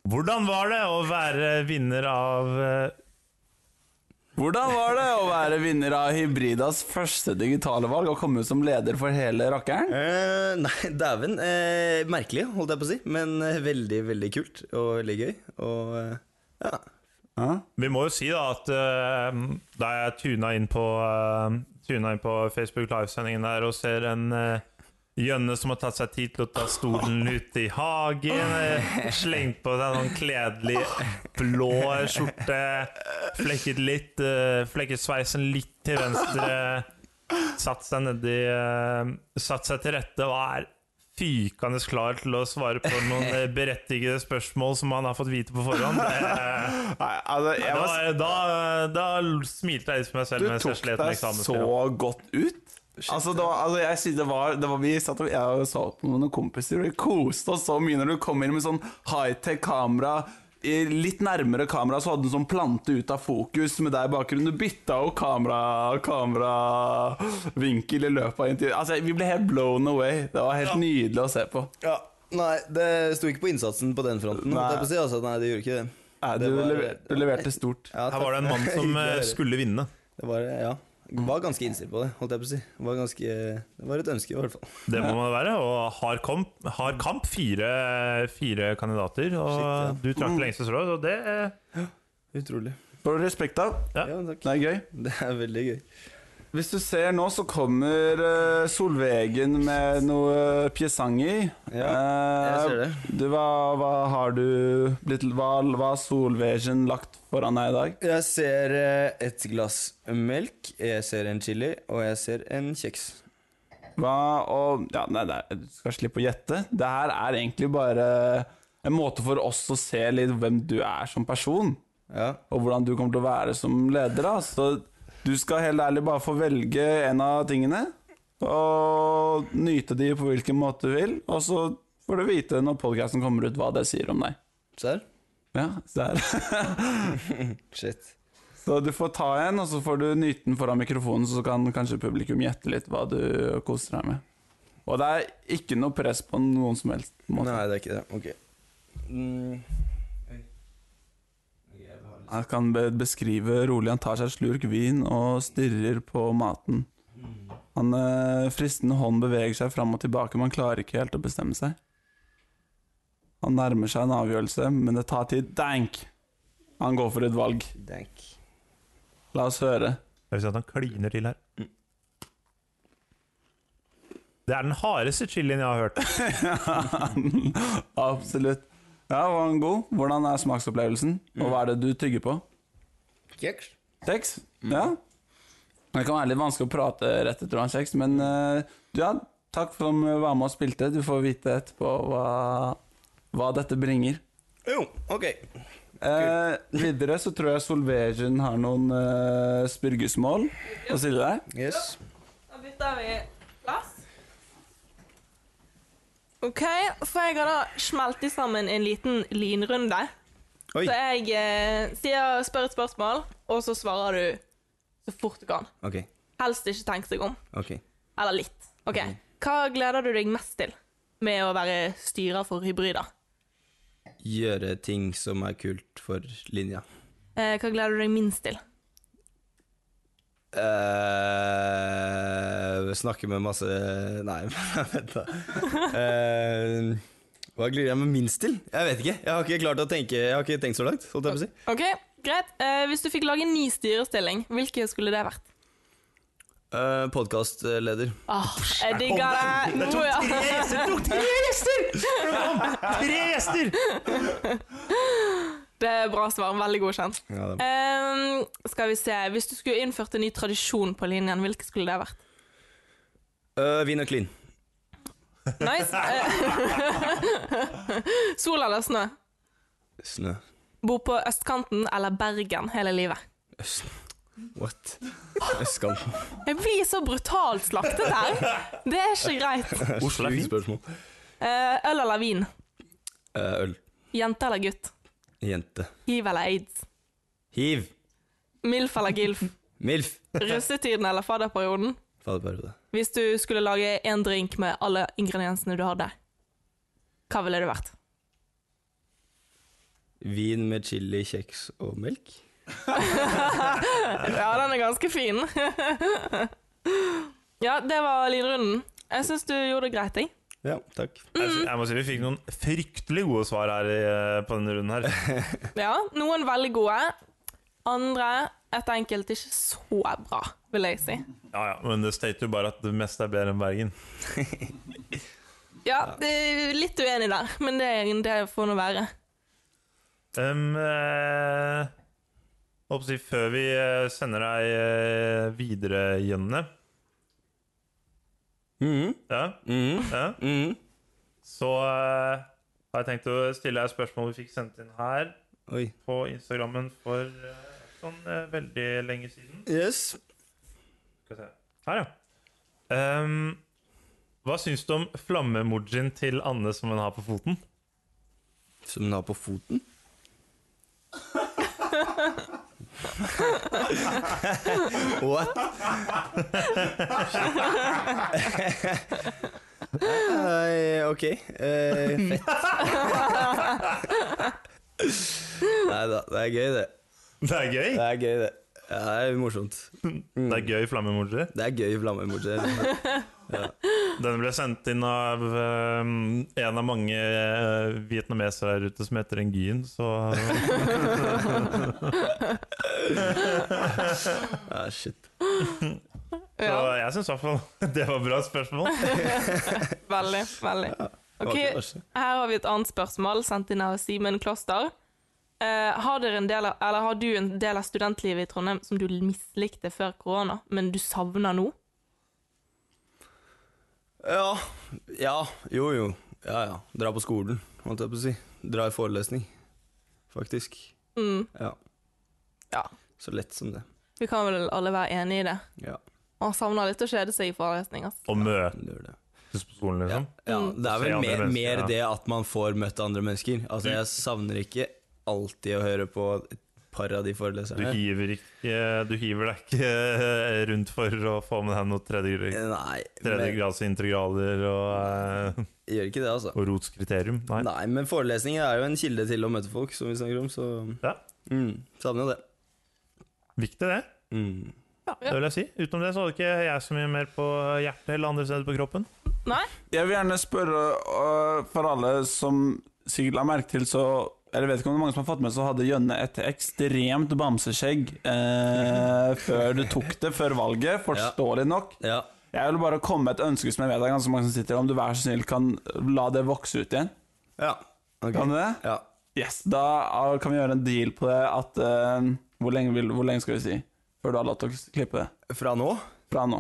Hvordan var det å være vinner av eh,
Hvordan var det å være vinner av Hybridas første digitale valg og komme ut som leder for hele rakkeren?
Eh, nei, dæven. eh, merkelig, holdt jeg på å si. Men eh, veldig, veldig kult og veldig gøy. Og eh, ja.
Ja.
Vi må jo si da at eh, da jeg tuna inn på, eh, tuna inn på Facebook Live-sendingen der og ser en eh, Jønne som har tatt seg tid til å ta stolen ut i hagen, eh, slengt på seg en sånn kledelig blå skjorte, flekket litt, eh, flekket sveisen litt til venstre, satt seg nedi, eh, satt seg til rette og er fykende klar til å svare på noen eh, berettigede spørsmål som han har fått vite på forhånd. Det,
Nei, altså, jeg
da,
var,
da, da smilte jeg litt for meg selv
du
mens jeg
tok
slet med
deg så
eksamensprøven.
godt ut. Altså, det var, altså, jeg synes det var, det var Vi satt og jeg og så på med noen kompiser, og vi koste oss så mye når du kom inn med sånn high-tech kamera, i- litt nærmere kamera så hadde en sånn plante ut av fokus med deg i bakgrunnen. Du bytta jo kamera kameravinkel i løpet av intervjuet. Altså, vi ble helt blown away. Det var helt nydelig å se på.
Ja, Nei, det sto ikke på innsatsen på den fronten.
Nei.
holdt jeg på å si, altså, nei, det gjorde ikke det.
Nei,
Det
du,
var-
lever, du leverte stort.
Ja,
Her var det en mann som eh, skulle vinne.
Det var, eh, ja. Var ganske innstilt på det, holdt jeg på å si. Var ganske, det var et ønske, i hvert fall.
Det må man være. Og hard kamp, hard kamp fire, fire kandidater. Og
Shit,
du trakk det lengste strået, og det eh,
Utrolig.
Får du respekt av?
Ja.
Ja, takk.
Det er gøy.
Det er veldig gøy.
Hvis du ser nå, så kommer eh, Solvegen med noe pjesanger.
jeg ser det.
Du, hva, hva har du blitt Hva hva har Solvegen lagt foran deg i dag?
Jeg ser eh, et glass melk, jeg ser en chili, og jeg ser en kjeks.
Hva og Ja, nei, det er, du skal slippe å gjette. Det her er egentlig bare en måte for oss å se litt hvem du er som person,
Ja.
og hvordan du kommer til å være som leder. Da. Så du skal helt ærlig bare få velge en av tingene, og nyte de på hvilken måte du vil, og så får du vite når podkasten kommer ut, hva det sier om deg.
Serr?
Ja, der.
Shit.
Så du får ta en, og så får du nyte den foran mikrofonen, så kan kanskje publikum gjette litt hva du koser deg med. Og det er ikke noe press på noen som helst måte.
Nei, det er ikke det. Ok. Mm.
Han kan be- beskrive rolig. Han tar seg en slurk vin og stirrer på maten. Han eh, Fristende hånd beveger seg fram og tilbake, men han klarer ikke helt å bestemme seg. Han nærmer seg en avgjørelse, men det tar tid. Dank! Han går for et valg.
Dank.
La oss høre.
Jeg vil si at han kliner til her. Det er den hardeste chilien jeg har hørt.
Absolutt. Ja, var den god? Hvordan er smaksopplevelsen? Og hva er det du tygger på?
Kjeks?
Kjeks? Ja? Det kan være litt vanskelig å prate rett etter å ha en kjeks, men eh, ja, takk for at du var med og spilte. Du får vite etterpå hva, hva dette bringer.
Jo, ok.
Eh, videre så tror jeg Solvegen har noen eh, spurgesmål å stille deg.
Yes.
Da bytter vi plass. OK, for jeg har da smelt i sammen en liten linrunde.
Oi.
Så jeg eh, sier, spør et spørsmål, og så svarer du så fort du kan.
Ok,
Helst ikke tenk deg om.
ok.
Eller litt. OK. Hva gleder du deg mest til med å være styrer for hybrider?
Gjøre ting som er kult for linja.
Eh, hva gleder du deg minst til?
eh snakke med masse Nei, vent, da. Eh, hva gleder jeg meg minst til? Jeg vet ikke. Jeg har ikke klart å tenke Jeg har ikke tenkt så langt. Holdt jeg på å si.
OK, greit. Eh, hvis du fikk lage en ny styrestilling, hvilken skulle det vært?
Eh, Podkastleder.
Åh, jeg digger det! Nå, ja.
Tre gjester!
Det er bra svar. Veldig godkjent.
Ja, det-
Ehm, skal vi se Hvis du skulle innført en ny tradisjon på linjen, hvilken skulle det vært?
Eh, vin og clean.
Nice. Eh, Sol eller snø?
Snø.
Bo på østkanten eller Bergen hele livet?
Øst. What? Østkanten.
Jeg blir så brutalt slaktet her! Det er ikke greit.
Oslo er
Sjukt
fint.
spørsmål.
Eh, øl eller vin?
Eh, øl.
Jente eller gutt?
Jente.
Hiv eller aids?
Hiv.
Milf eller gilf?
Milf.
Russetiden eller fadderperioden?
Faderperiode.
Hvis du skulle lage én drink med alle ingrediensene du hadde, hva ville det vært?
Vin med chili, kjeks og melk.
Ja, den er ganske fin. ja, det var lynrunden. Jeg syns du gjorde det greit, jeg.
Ja, takk.
Jeg sy- Jeg må si Vi fikk noen fryktelig gode svar her i, eh, på denne runden. her
Ja, noen veldig gode. Andre et enkelt ikke så bra, vil jeg si.
Ja, ja, Men det stater jo bare at det meste er bedre enn Bergen.
Ja, det er litt uenig der, men det, det får nå være.
Um, eh, håper å si, før vi eh, sender deg eh, videre, Jønne
Mhm,
ja,
mhm,
ja,
mhm.
Så eh, har jeg tenkt å stille deg et spørsmål vi fikk sendt inn her
Oi.
på Instagrammen for eh, sånn eh, veldig lenge siden.
Yes.
Skal vi se. Her, ja. Um, hva syns du om flamme-emojien til Anne som hun har på foten?
Som den har på foten? What? Nei, ok. Eh, fett. Nei da, det er gøy, det.
Det er gøy!
Det er gøy, det. Ja, det er morsomt.
Det er gøy flammeemoji.
Det er gøy flammeemoji.
Den ble sendt inn av eh, en av mange eh, vietnamesere her ute som heter Nguyen, så
Ja, shit.
Så
Ja,
jeg syns i hvert fall det var et bra spørsmål.
veldig, veldig. Ok, Her har vi et annet spørsmål, sendt inn av Simen Kloster. Eh, har, dere en del av, eller har du en del av studentlivet i Trondheim som du mislikte før korona, men du savner nå?
Ja. Ja, jo jo. Ja ja. Dra på skolen, holdt jeg på å si. Dra i forelesning, faktisk.
Mm.
Ja.
Ja.
Så lett som det.
Vi kan vel alle være enige i det.
Ja,
Man savner litt å kjede seg i forelesning. ass.
Å møtes
det gjør det.
på skolen, liksom.
Ja, det er
Se
vel
andre
mer,
mennesker,
mer
ja.
det at man får møtt andre mennesker. Altså, jeg savner ikke alltid å høre på et par av de
Du
foreleserne.
hiver, ikke, du hiver deg ikke eh, rundt for å få med deg noen tredje,
Nei, men,
tredjegradsintegraler og, eh,
gjør ikke det, altså.
og rotskriterium. Nei.
Nei, men forelesninger er jo en kilde til å møte folk, som vi snakker om, så
Ja.
mm, savner jo det.
Viktig, det.
Mm.
Det vil jeg si. Utenom det så hadde ikke jeg så mye mer på hjertet eller andre steder på kroppen.
Nei?
Jeg vil gjerne spørre, øh, for alle som sikkert la merke til, så eller vet ikke om det er mange som har fått med, så hadde Jønne et ekstremt bamseskjegg eh, før du tok det, før valget. Forståelig nok.
Ja.
Jeg vil bare komme med et ønske som jeg vet det er ganske mange som sitter i, om du vær så snill kan la det vokse ut igjen.
Ja. ok.
Kan du det?
Ja.
Yes, Da ah, kan vi gjøre en deal på det at eh, hvor, lenge vil, hvor lenge skal vi si før du har lov til å klippe det?
Fra nå?
Fra nå?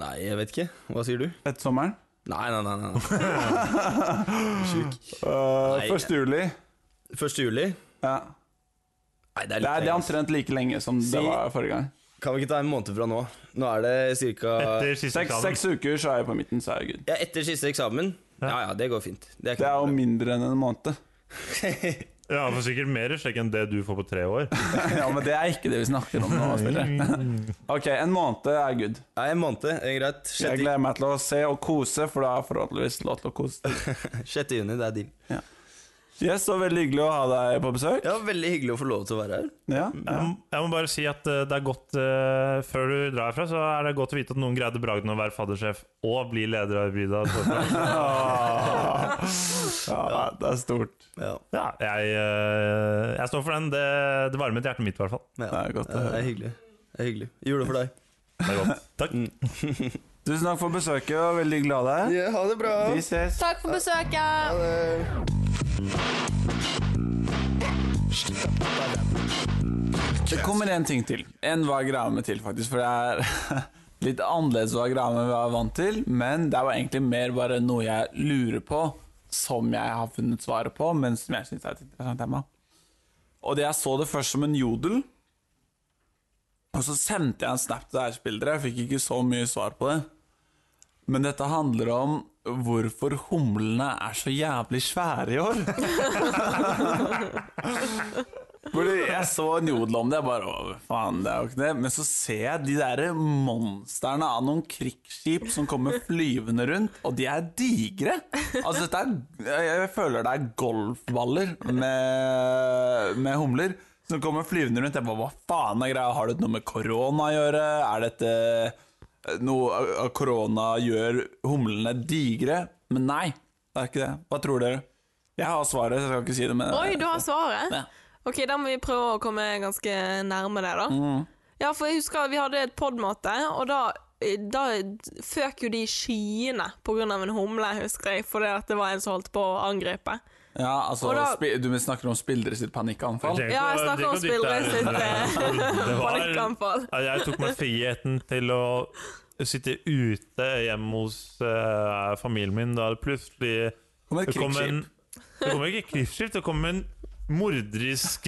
Nei, jeg vet ikke. Hva sier du?
Etter sommeren?
Nei, nei, nei. nei, nei.
Uh,
Nei.
1. Eh, juli.
1. juli?
Ja.
Nei,
Det er, det
det er litt
er
lenge. ass.
omtrent like lenge som
Si-
det var forrige gang.
Kan vi ikke ta en måned fra nå? Nå er det ca.
Etter siste
Seks,
eksamen.
seks uker, så er jeg på midten, så er jeg good.
Ja, etter siste eksamen? Ja ja, det går fint. Det er
Det
ikke
er
noe
jo mindre enn en måned.
Ja, for sikkert mer skjegg enn det du får på tre år. Mm.
ja, Men det er ikke det vi snakker om nå. Spiller. Ok, en måned er good.
Nei, en måned. Det er greit.
Jeg
6.
gleder meg til å se og kose, for da er forhåpentligvis lov til å kose.
juni, det er deal.
Yes, og Veldig hyggelig å ha deg på besøk.
Ja, veldig hyggelig å få lov til å være her.
Ja,
Jeg
ja.
må- jeg må bare si at eh, det er godt eh, Før du drar herfra, så er det godt å vite at noen greide bragden å være faddersjef og bli leder av hybrida.
ja det er stort.
Ja,
Ja, jeg, eh, jeg står for den. Det, det varmet hjertet mitt, i hvert fall.
ja.
Det er godt å høre.
Ja, Det er hyggelig. Det er hyggelig. Jule for deg.
Det er godt. Takk.
Mm.
Tusen takk for besøket, og veldig glad i deg.
ha det bra.
Vi ses.
Takk for besøket!
Det kommer en ting til. En var greia med til, faktisk. For det er litt annerledes hva greia med hva jeg er vant til. Men det var egentlig mer bare noe jeg lurer på, som jeg har funnet svaret på, men som jeg syns er et interessant tema. Og det jeg så det først som en jodel. Og så sendte jeg en snap til ærespillere. Jeg fikk ikke så mye svar på det. Men dette handler om hvorfor humlene er så jævlig svære i år. Fordi jeg så en jodel om det, jeg bare «Å, faen, det er jo ikke det. Men så ser jeg de der monsterne av noen krigsskip som kommer flyvende rundt, og de er digre. Altså, dette er, jeg, jeg føler det er golfballer med, med humler som kommer flyvende rundt. Jeg bare, hva faen er greia? Har det noe med korona å gjøre? Er dette noe at korona gjør humlene digre? Men nei, det er ikke det. Hva tror dere? Jeg har svaret, så jeg skal ikke si det. Men
Oi, du har svaret?
Ja.
Ok, da må vi prøve å komme ganske nærme det, da.
Mm.
Ja, for jeg husker vi hadde et podmøte, og da, da føk jo de i skyene på grunn av en humle, husker jeg, fordi at det var en som holdt på å angripe.
Ja, altså,
Og da-
spi- du snakker om spillere sitt panikkanfall?
Tenk
Ja, jeg
på-
snakker
tenk på
om
ditt
spillere
der.
sitt eh,
Det var-
panikkanfall.
Ja, Jeg tok meg friheten til å sitte ute hjemme hos eh, familien min da det plutselig
Kommer et
det kom en
krigsskip.
Det kom ikke krigsskip, det kom en morderisk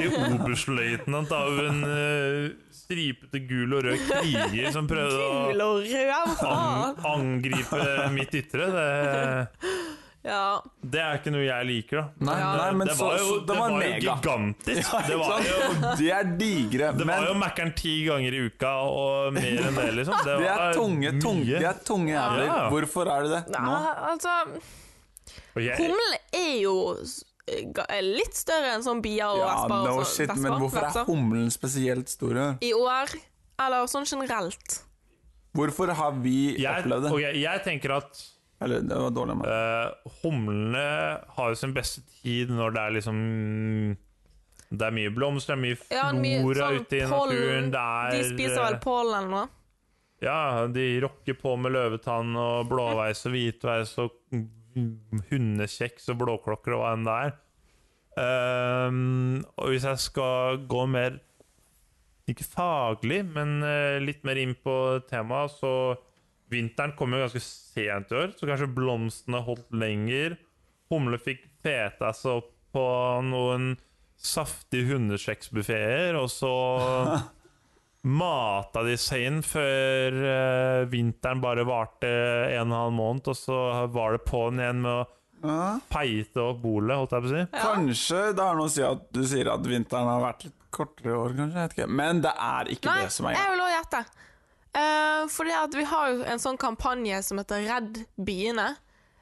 oberstløytnant av en eh, stripete gul og rød kriger som prøvde å
Gul og rød, faen!
an angripe mitt ytre. Det,
Ja.
Det er ikke noe jeg liker, da.
Nei,
Ja.
nei, men
det
så,
var jo,
så, det var,
jo
mega.
gigantisk.
Ja,
Det
ikke
var
sant?
jo
De er digre,
det var
men
jo Mækkern ti ganger i uka og mer enn det, liksom. Det
de er
var
tunge, tunge, de er tunge jævler.
Ja.
Hvorfor er de det? Nå?
Nei, altså
Og jeg,
Humlen er jo s- ga- er litt større enn sånn bier og
Ja,
vesper. og
no
sånn-
shit,
vesper,
men hvorfor er
vepser.
humlen spesielt store?
I år, eller sånn generelt.
Hvorfor har vi
jeg,
opplevd det?
og jeg, jeg tenker at
Eller, det var dårlig av meg.
eh, humlene har jo sin beste tid når det er liksom Det er mye blomster, det er mye
Ja,
flora
mye sånn
ute i
pollen.
naturen. Det er,
De spiser vel
eh,
pollen eller noe?
Ja, de rocker på med løvetann og blåveis og hvitveis og hundekjeks og blåklokker og hva enn det er. Ehm, og hvis jeg skal gå mer ikke faglig, men eh, litt mer inn på temaet, så Vinteren kom jo ganske sent i år, så kanskje blomstene holdt lenger. Humle fikk feta seg opp på noen saftige hundekjeksbuffeer, og så mata de seg inn før eh, vinteren bare varte en og en halv måned, og så var det på'n igjen med å
Ja.
peite opp bolet, holdt jeg på å si.
Kanskje det har noe å si at du sier at vinteren har vært litt kortere i år, kanskje? Jeg vet ikke. Men det er ikke
Nei,
det som er
jeg
greia.
vil også gjette. Uh, fordi at vi har jo en sånn kampanje som heter Redd biene.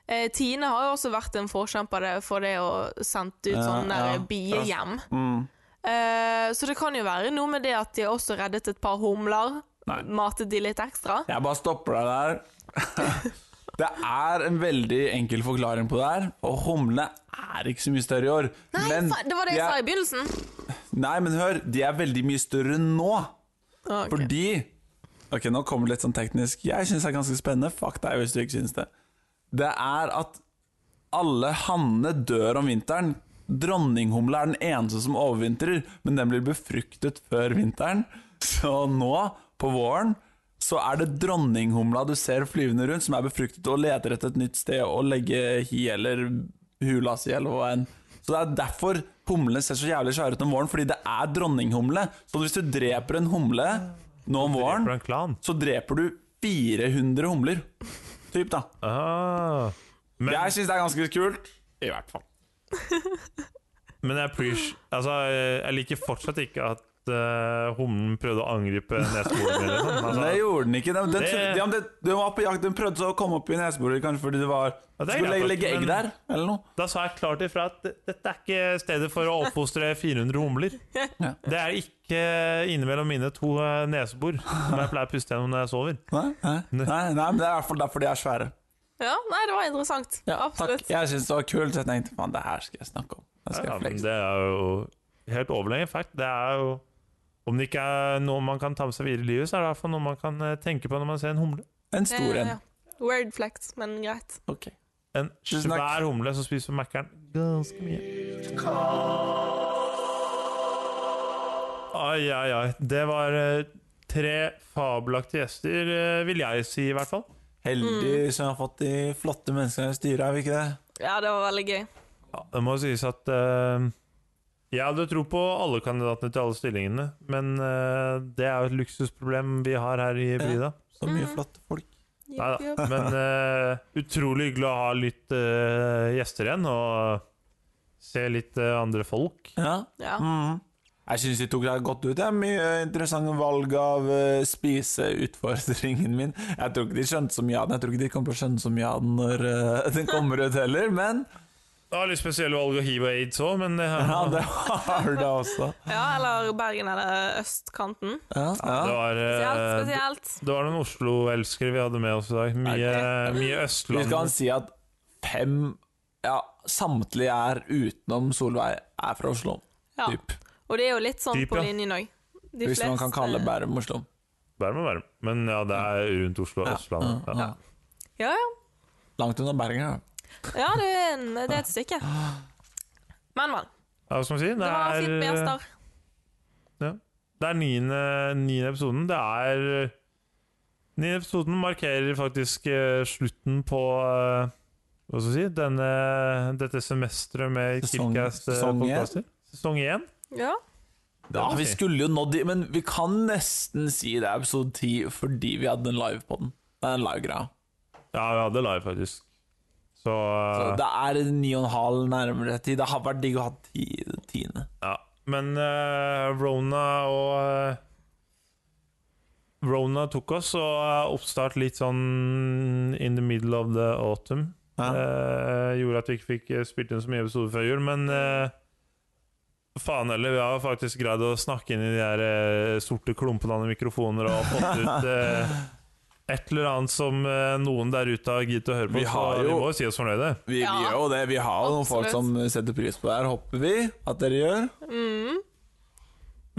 Eh, Tine har jo også vært en forkjemper det- for det å sendt ut
Ja,
sånne der
ja,
biehjem.
Mm.
Eh, så det kan jo være noe med det at de har også reddet et par humler.
Nei.
Matet de litt ekstra.
Jeg bare stopper deg der. det er en veldig enkel forklaring på det her, og humlene er ikke så mye større i år.
Nei,
men,
fa- det var det jeg
de
sa
er-
i begynnelsen.
Nei, men hør, de er veldig mye større nå,
Ah, Ok.
fordi Ok, nå kommer det litt sånn teknisk. Jeg syns det er ganske spennende. Fuck deg hvis du ikke syns det. Det er at alle hannene dør om vinteren. Dronninghumle er den eneste som overvintrer, men den blir befruktet før vinteren. Så nå, på våren, så er det dronninghumla du ser flyvende rundt, som er befruktet og leter etter et nytt sted å legge hi eller hula si, eller hva enn. Så det er derfor humlene ser så jævlig svære ut om våren, fordi det er dronninghumle. Så hvis du dreper en humle nå om
For
våren,
en klan.
så dreper du 400 humler. Typ, da.
Ah. Men,
Jeg syns det er ganske kult. I hvert fall.
men jeg, appreci- altså, jeg jeg liker fortsatt ikke at eh, humlen prøvde å angripe neseboren min. Liksom.
Men det
Altså,
gjorde den ikke. Den, den,
Det-
trodde- ja, men den, den var på jakt, den prøvde så å komme opp i neseboret, kanskje fordi det var
Ja, det er
Skulle
greit nok,
legge, legge egg
men-
der, eller noe.
da sa jeg klart ifra at det- dette er ikke stedet for å oppfostre 400 humler.
Ja.
Det er ikke innimellom mine to eh, nesebor som jeg pleier å puste gjennom når jeg sover.
Nei, nei, nei, nei, men det er i hvert fall derfor de er svære.
Ja, nei, det var interessant.
Ja, takk.
Absolutt.
Jeg syns det var kult, så jeg tenkte faen, det her skal jeg snakke om. Det skal
Ja,
jeg
men
flekse.
det er jo helt overlegen fact. Det er jo Om det ikke er noe man kan ta med seg videre i livet, så er det i hvert fall noe man kan eh, tenke på når man ser en humle.
En
Eh,
stor en.
ja. Word flex, men greit.
Ok.
En
Tusen takk.
svær humle som spiser Mækkern ganske mye. Ai, ai, ai. Det var eh, tre fabelaktige gjester, eh, vil jeg si i hvert fall.
Mm.
Heldig som har fått de flotte menneskene i styret, er vi ikke det?
Ja, det var veldig gøy.
Ja, det må sies at eh, jeg hadde tro på alle kandidatene til alle stillingene, men eh, det er jo et luksusproblem vi har her i Brida.
Så mye
Mm.
flotte folk.
Neida, Men eh, utrolig hyggelig å ha litt eh, gjester igjen, og se litt eh, andre folk.
Ja.
Ja.
Mhm. Jeg syns de tok seg godt ut. Det er mye interessante valg av eh, spiseutfordringen min. Jeg tror ikke de skjønte så mye av den. Jeg tror ikke de kommer til å skjønne så mye av den når eh, den kommer ut heller, men
Det var litt spesielle valg av hiv og aids òg, men eh, det,
ja, det har det også.
ja, eller Bergen eller østkanten.
Ja,
det
ja.
var eh,
Spesielt.
det,
spesielt.
det var noen Oslo-elskere vi hadde med oss i dag. Mye, mye
Vi
Østland.
kan si at fem Ja, samtlige er utenom Solveig er fra Oslo,
Ja.
typ.
Og det er jo litt sånn
Typ,
på
ja.
linjen òg.
Hvis man kan kalle Bærum Oslo.
Bærum og Bærum. Men ja, det er rundt Oslo og
Ja,
Østlandet.
ja,
Ja.
ja.
Ja, ja.
Langt unna Bergen, ja.
ja det, er en, det er et stykke. Men, men.
Ja, hva skal man si?
Det var fint med
Det er,
gjester.
Det er niende, niende episoden. Det er eh, Niende episoden markerer faktisk eh, slutten på eh, Hva skal jeg si denne, Dette semesteret med
Sesong- sesong én.
Kilkast-podkaster. Sesong én.
Ja.
Ja,
Det må
vi
si.
skulle jo nådd de, men vi kan nesten si det er episode 10 fordi vi hadde en live på den. Det er en live greia.
Ja, vi hadde live, faktisk. Så, eh,
Så det er ni og en halv nærmere ti. Det har vært digg å ha ti, tiende.
ja. Men eh, Rona og eh, Rona tok oss, og eh, oppstart litt sånn in the middle of the autumn.
Ja.
Eh, gjorde at vi ikke fikk eh, spilt inn så mye episoder før jul, men eh, faen heller, vi har faktisk greid å snakke inn i de der eh, sorte klumpene av mikrofoner og fått ut eh, et eller annet som eh, noen der ute har giddet å høre på.
Vi har
så
jo-
vi må jo si oss fornøyde.
Vi, vi
Ja,
gjør jo det. Vi har jo noen folk
absolutt.
som setter pris på det her, håper vi at dere gjør.
Mm.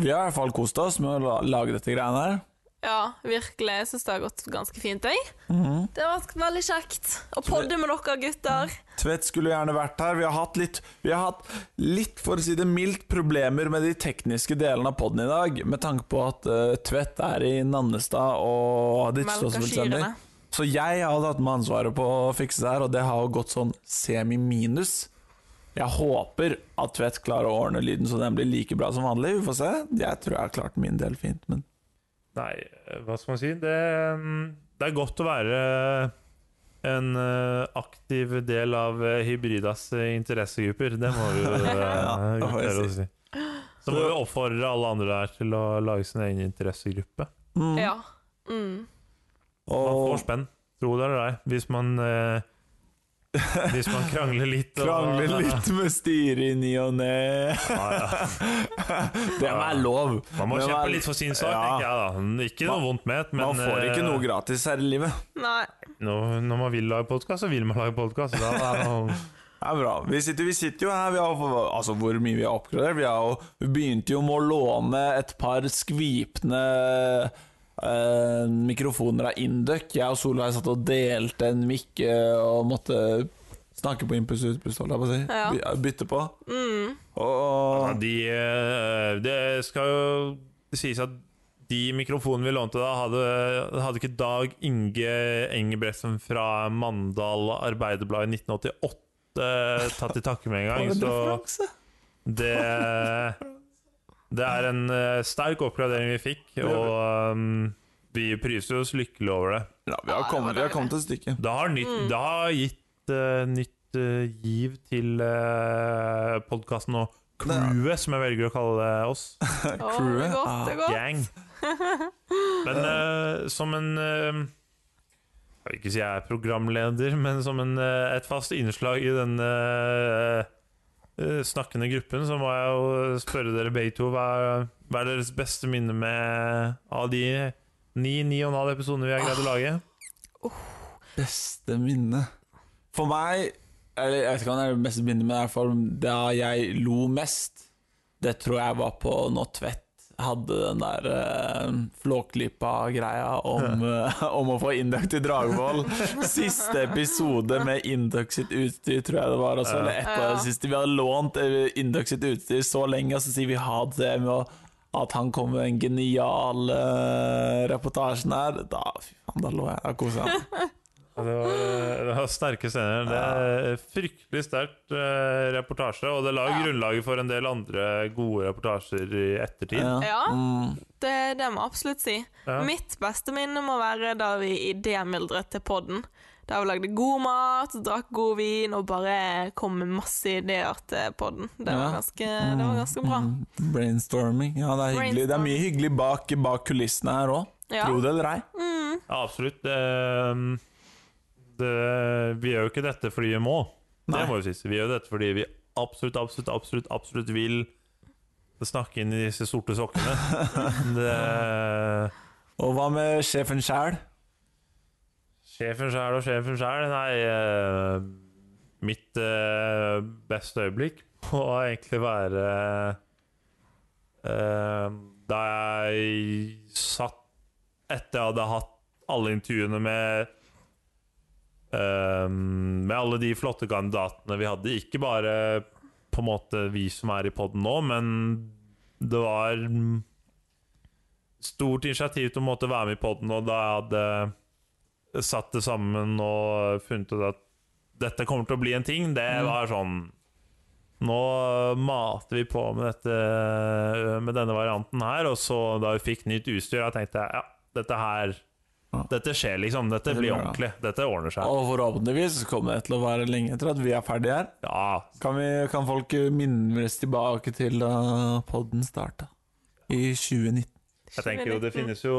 Vi har i hvert fall kost oss med å la- lage dette greiene her.
Ja, virkelig. Jeg syns det har gått ganske fint, jeg.
Mhm.
Det har vært veldig kjekt å podde med dere gutter.
Tvedt skulle gjerne vært her. Vi har hatt litt, vi har hatt litt for å si det mildt, problemer med de tekniske delene av poden i dag, med tanke på at eh, Tvedt er i Nannestad og har ditchet oss
Melka
fullstendig.
kyrne.
Så jeg har tatt med ansvaret på å fikse det her, og det har jo gått sånn semi-minus. Jeg håper at Tvedt klarer å ordne lyden så den blir like bra som vanlig. Vi får se. Jeg tror jeg har klart min del fint, men
Nei, hva skal man si? Det, mm, det er godt å være en eh, aktiv del av eh, Hybridas eh, interessegrupper. Det må vi jo eh,
Ja, det får jeg
tørre å si. Så må vi oppfordre alle andre der til å lage sin egen interessegruppe.
mm.
Ja. Mm.
Man
Og
får spenn, tro det eller ei, hvis man eh, Hvis man krangler litt. og-
krangler litt med styret i ny og ne.
Ja, ja.
Det må være lov.
Man må
Men
kjempe
man-
litt for sin sak,
Ja.
tenker jeg da. Ikke noe
Man-
vondt ment, men
Man får ikke
eh,
noe gratis her i livet.
Nei.
når, når man vil lage podkast, så vil man lage podkast. Da, da,
Det er bra. Vi sitter, vi sitter jo her, vi har, altså hvor mye vi har oppgradert. Vi, har jo, vi begynte jo med å låne et par skvipende eh, mikrofoner av Induc. Jeg og Solveig satt og delte en mikk eh, og måtte snakke på impuls og utpust, holdt jeg på å si.
Ja.
By- Bytte på.
Mm.
Ja,
Og
de, eh, det skal jo sies at de mikrofonene vi lånte da, hadde, hadde ikke Dag Inge Engebretsen fra Mandal Arbeiderblad i 1988 eh, tatt til takke med en gang. Så det Det er en eh, sterk oppgradering vi fikk, og eh, vi priser oss lykkelig over det.
ja, vi har kommet, vi har kommet et stykke.
Det har, nytt, det har gitt eh, nytt eh, giv til uh, podkasten og crewet, som jeg velger å kalle oss.
Å, det er
ah.
godt, det er godt.
Gang. Men eh, som en eh, Jeg vil ikke si jeg er programleder, men som en, eh, et fast innslag i den eh, eh, snakkende gruppen, så må jeg jo spørre dere begge to hva, hva er deres beste minne med av de ni, ni og en halv episodene vi har greid å lage?
Beste minne For meg Eller jeg vet ikke om det er det beste minnet Men i hvert fall Da jeg lo mest Det tror jeg var på Når Tvedt Hadde den der uh, Flåklypa greia om, eh, om å få Induct til Dragvoll Siste episode med Induct sitt utstyr Tror jeg det var også, Eller et av
Ja.
det siste Vi hadde lånt eh, Induct sitt utstyr så lenge Og så sier vi ha det med å at han kom med den geniale reportasjen her Da, fy faen, da lå jeg Da koset jeg meg
Ja, Ah. Det var, eh, det var sterke scener. Det er Fryktelig sterkt eh, reportasje, og det la jo grunnlaget for en del andre gode reportasjer i ettertid.
Ja.
Ja.
Mm.
Det, eh, det må jeg absolutt si.
Ja.
Mitt beste minne må være da vi idémyldret til podden. Da vi lagde god mat, drakk god vin og bare kom med masse ideer til podden. Det var
Ja.
ganske, det var ganske bra.
Mm. Brainstorming. Ja, det er hyggelig. Det er mye hyggelig bak, bak kulissene her òg.
Ja. Mm.
Tro det eller ei.
Ja, absolutt. Det, mm, det, vi gjør jo ikke dette fordi vi må. Det
Nei.
må jo sies. Vi gjør dette fordi vi absolutt, absolutt, absolutt, absolutt vil snakke inn i disse sorte sokkene. Det,
Og hva med sjefen sjæl?
sjefen sjæl og sjefen sjæl Nei, eh, mitt eh, beste øyeblikk må egentlig være eh, da jeg satt etter jeg hadde hatt alle intervjuene med eh, Med alle de flotte kandidatene vi hadde. Ikke bare på en måte vi som er i poden nå, men det var mm, stort initiativ til å måtte være med i poden, og da jeg hadde satt det sammen og funnet ut at dette kommer til å bli en ting, det var sånn Nå mater vi på med, dette, med denne varianten her, og så da vi fikk nytt utstyr, da tenkte jeg ja, dette her Dette skjer, liksom. Dette blir
Dette blir bra.
ordentlig. Dette ordner seg.
Og forhåpentligvis kommer det til å være lenge etter at vi er ferdige her.
Ja,
Kan, vi, kan folk minnes tilbake til da podden starta i 2019?
Jeg tenker jo det finnes jo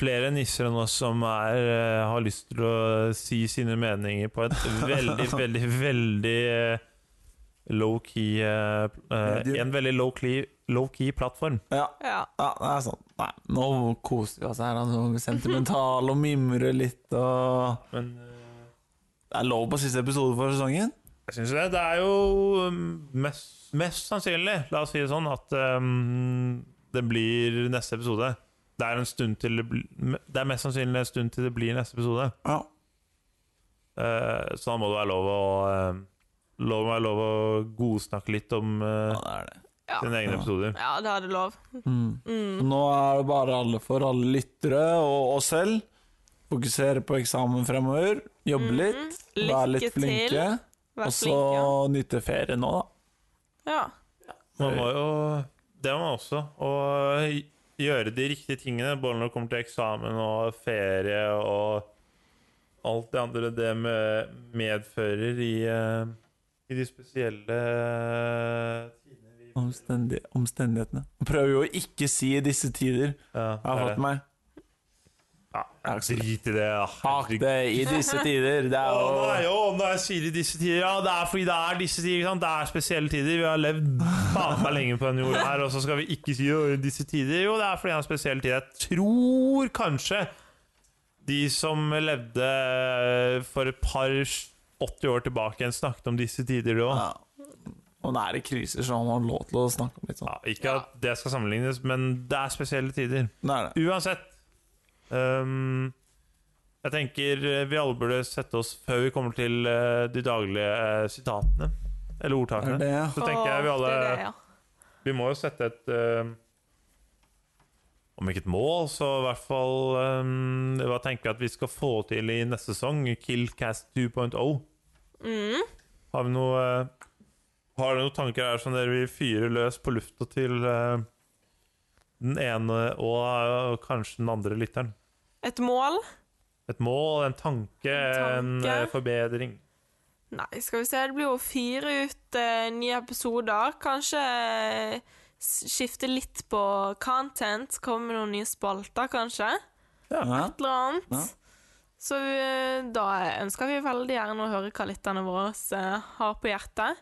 flere nisser enn oss som er, eh, har lyst til å si sine meninger på et veldig, veldig, veldig eh, low-key eh, eh, En veldig low-key low-key plattform.
Ja,
Ja.
ja, det er sånn. Nei, nå koser vi oss her. da. Nå er vi sentimentale og mimrer litt og
Men eh,
Det er lov på siste episode for sesongen.
jeg syns det. Det er jo um, mest, mest sannsynlig, la oss si det sånn, at um, det blir neste episode. Det er, en stund til det, bli, det er mest sannsynlig en stund til det blir neste episode.
Ja.
Eh, så da må det være lov å eh, Lov meg lov å godsnakke litt om eh,
ja, det er det.
Ja.
sine egne
Ja.
episoder.
ja, det hadde lov.
Mm.
Mm.
Nå er det bare alle for alle lyttere og oss selv. Fokusere på eksamen fremover. Jobbe litt.
Mhm.
Være litt
Lykke til.
flinke.
Vær
Og så
flink. Ja.
nyte ferien nå, da.
ja.
Man må jo Det må man også. Å eh, gjøre de riktige tingene, både når det kommer til eksamen og ferie og alt det andre det med, medfører i, eh, i de spesielle tidene vi
Omstendig omstendighetene. Prøver jo å ikke si i disse tider.
Ja,
Jeg har
det er
fått
det.
meg
Ja, Drit i det. ja.
Fuck det i disse tider. Det
Å nei,
er jo
å nei, jeg sier i disse tider Ja, det er fordi det er disse tider, ikke sant? Det er spesielle tider. Vi har levd faen meg lenge på denne jorda her, og så skal vi ikke si jo, i disse tider. Jo, det er fordi det er en spesiell tid. Jeg tror kanskje de som levde eh, for et par 80 år tilbake igjen, snakket om disse tider, de òg.
ja. Og nå er det kriser, så man har lov til å snakke om litt sånn.
Ja, ikke at det skal sammenlignes, men det er spesielle tider.
Det er det.
Uansett ehm, Jeg tenker eh, vi alle burde sette oss før vi kommer til eh, de daglige eh, sitatene. Eller
Det er
ordtakene.
det, ja.
Så tenker jeg vi
Åh,
alle
det er det, ja.
Vi må jo sette et ehm, Om ikke et mål, så i hvert fall ehm, Hva tenker jeg at vi skal få til i neste sesong? Killcast 2.0.
Mm.
Har vi noe eh, Har dere noen tanker her som dere vil fyre løs på lufta til eh, den ene og eh, kanskje den andre lytteren?
Et mål?
Et mål, en tanke, en,
En tanke.
eh, forbedring.
Nei, skal vi se. Det blir jo fire ut eh, nye episoder. Kanskje eh, s- skifte litt på content. Komme med noen nye spalter, kanskje.
Ja.
Et eller annet.
Ja.
Så eh, da ønsker vi veldig gjerne å høre hva lytterne våre eh, har på hjertet.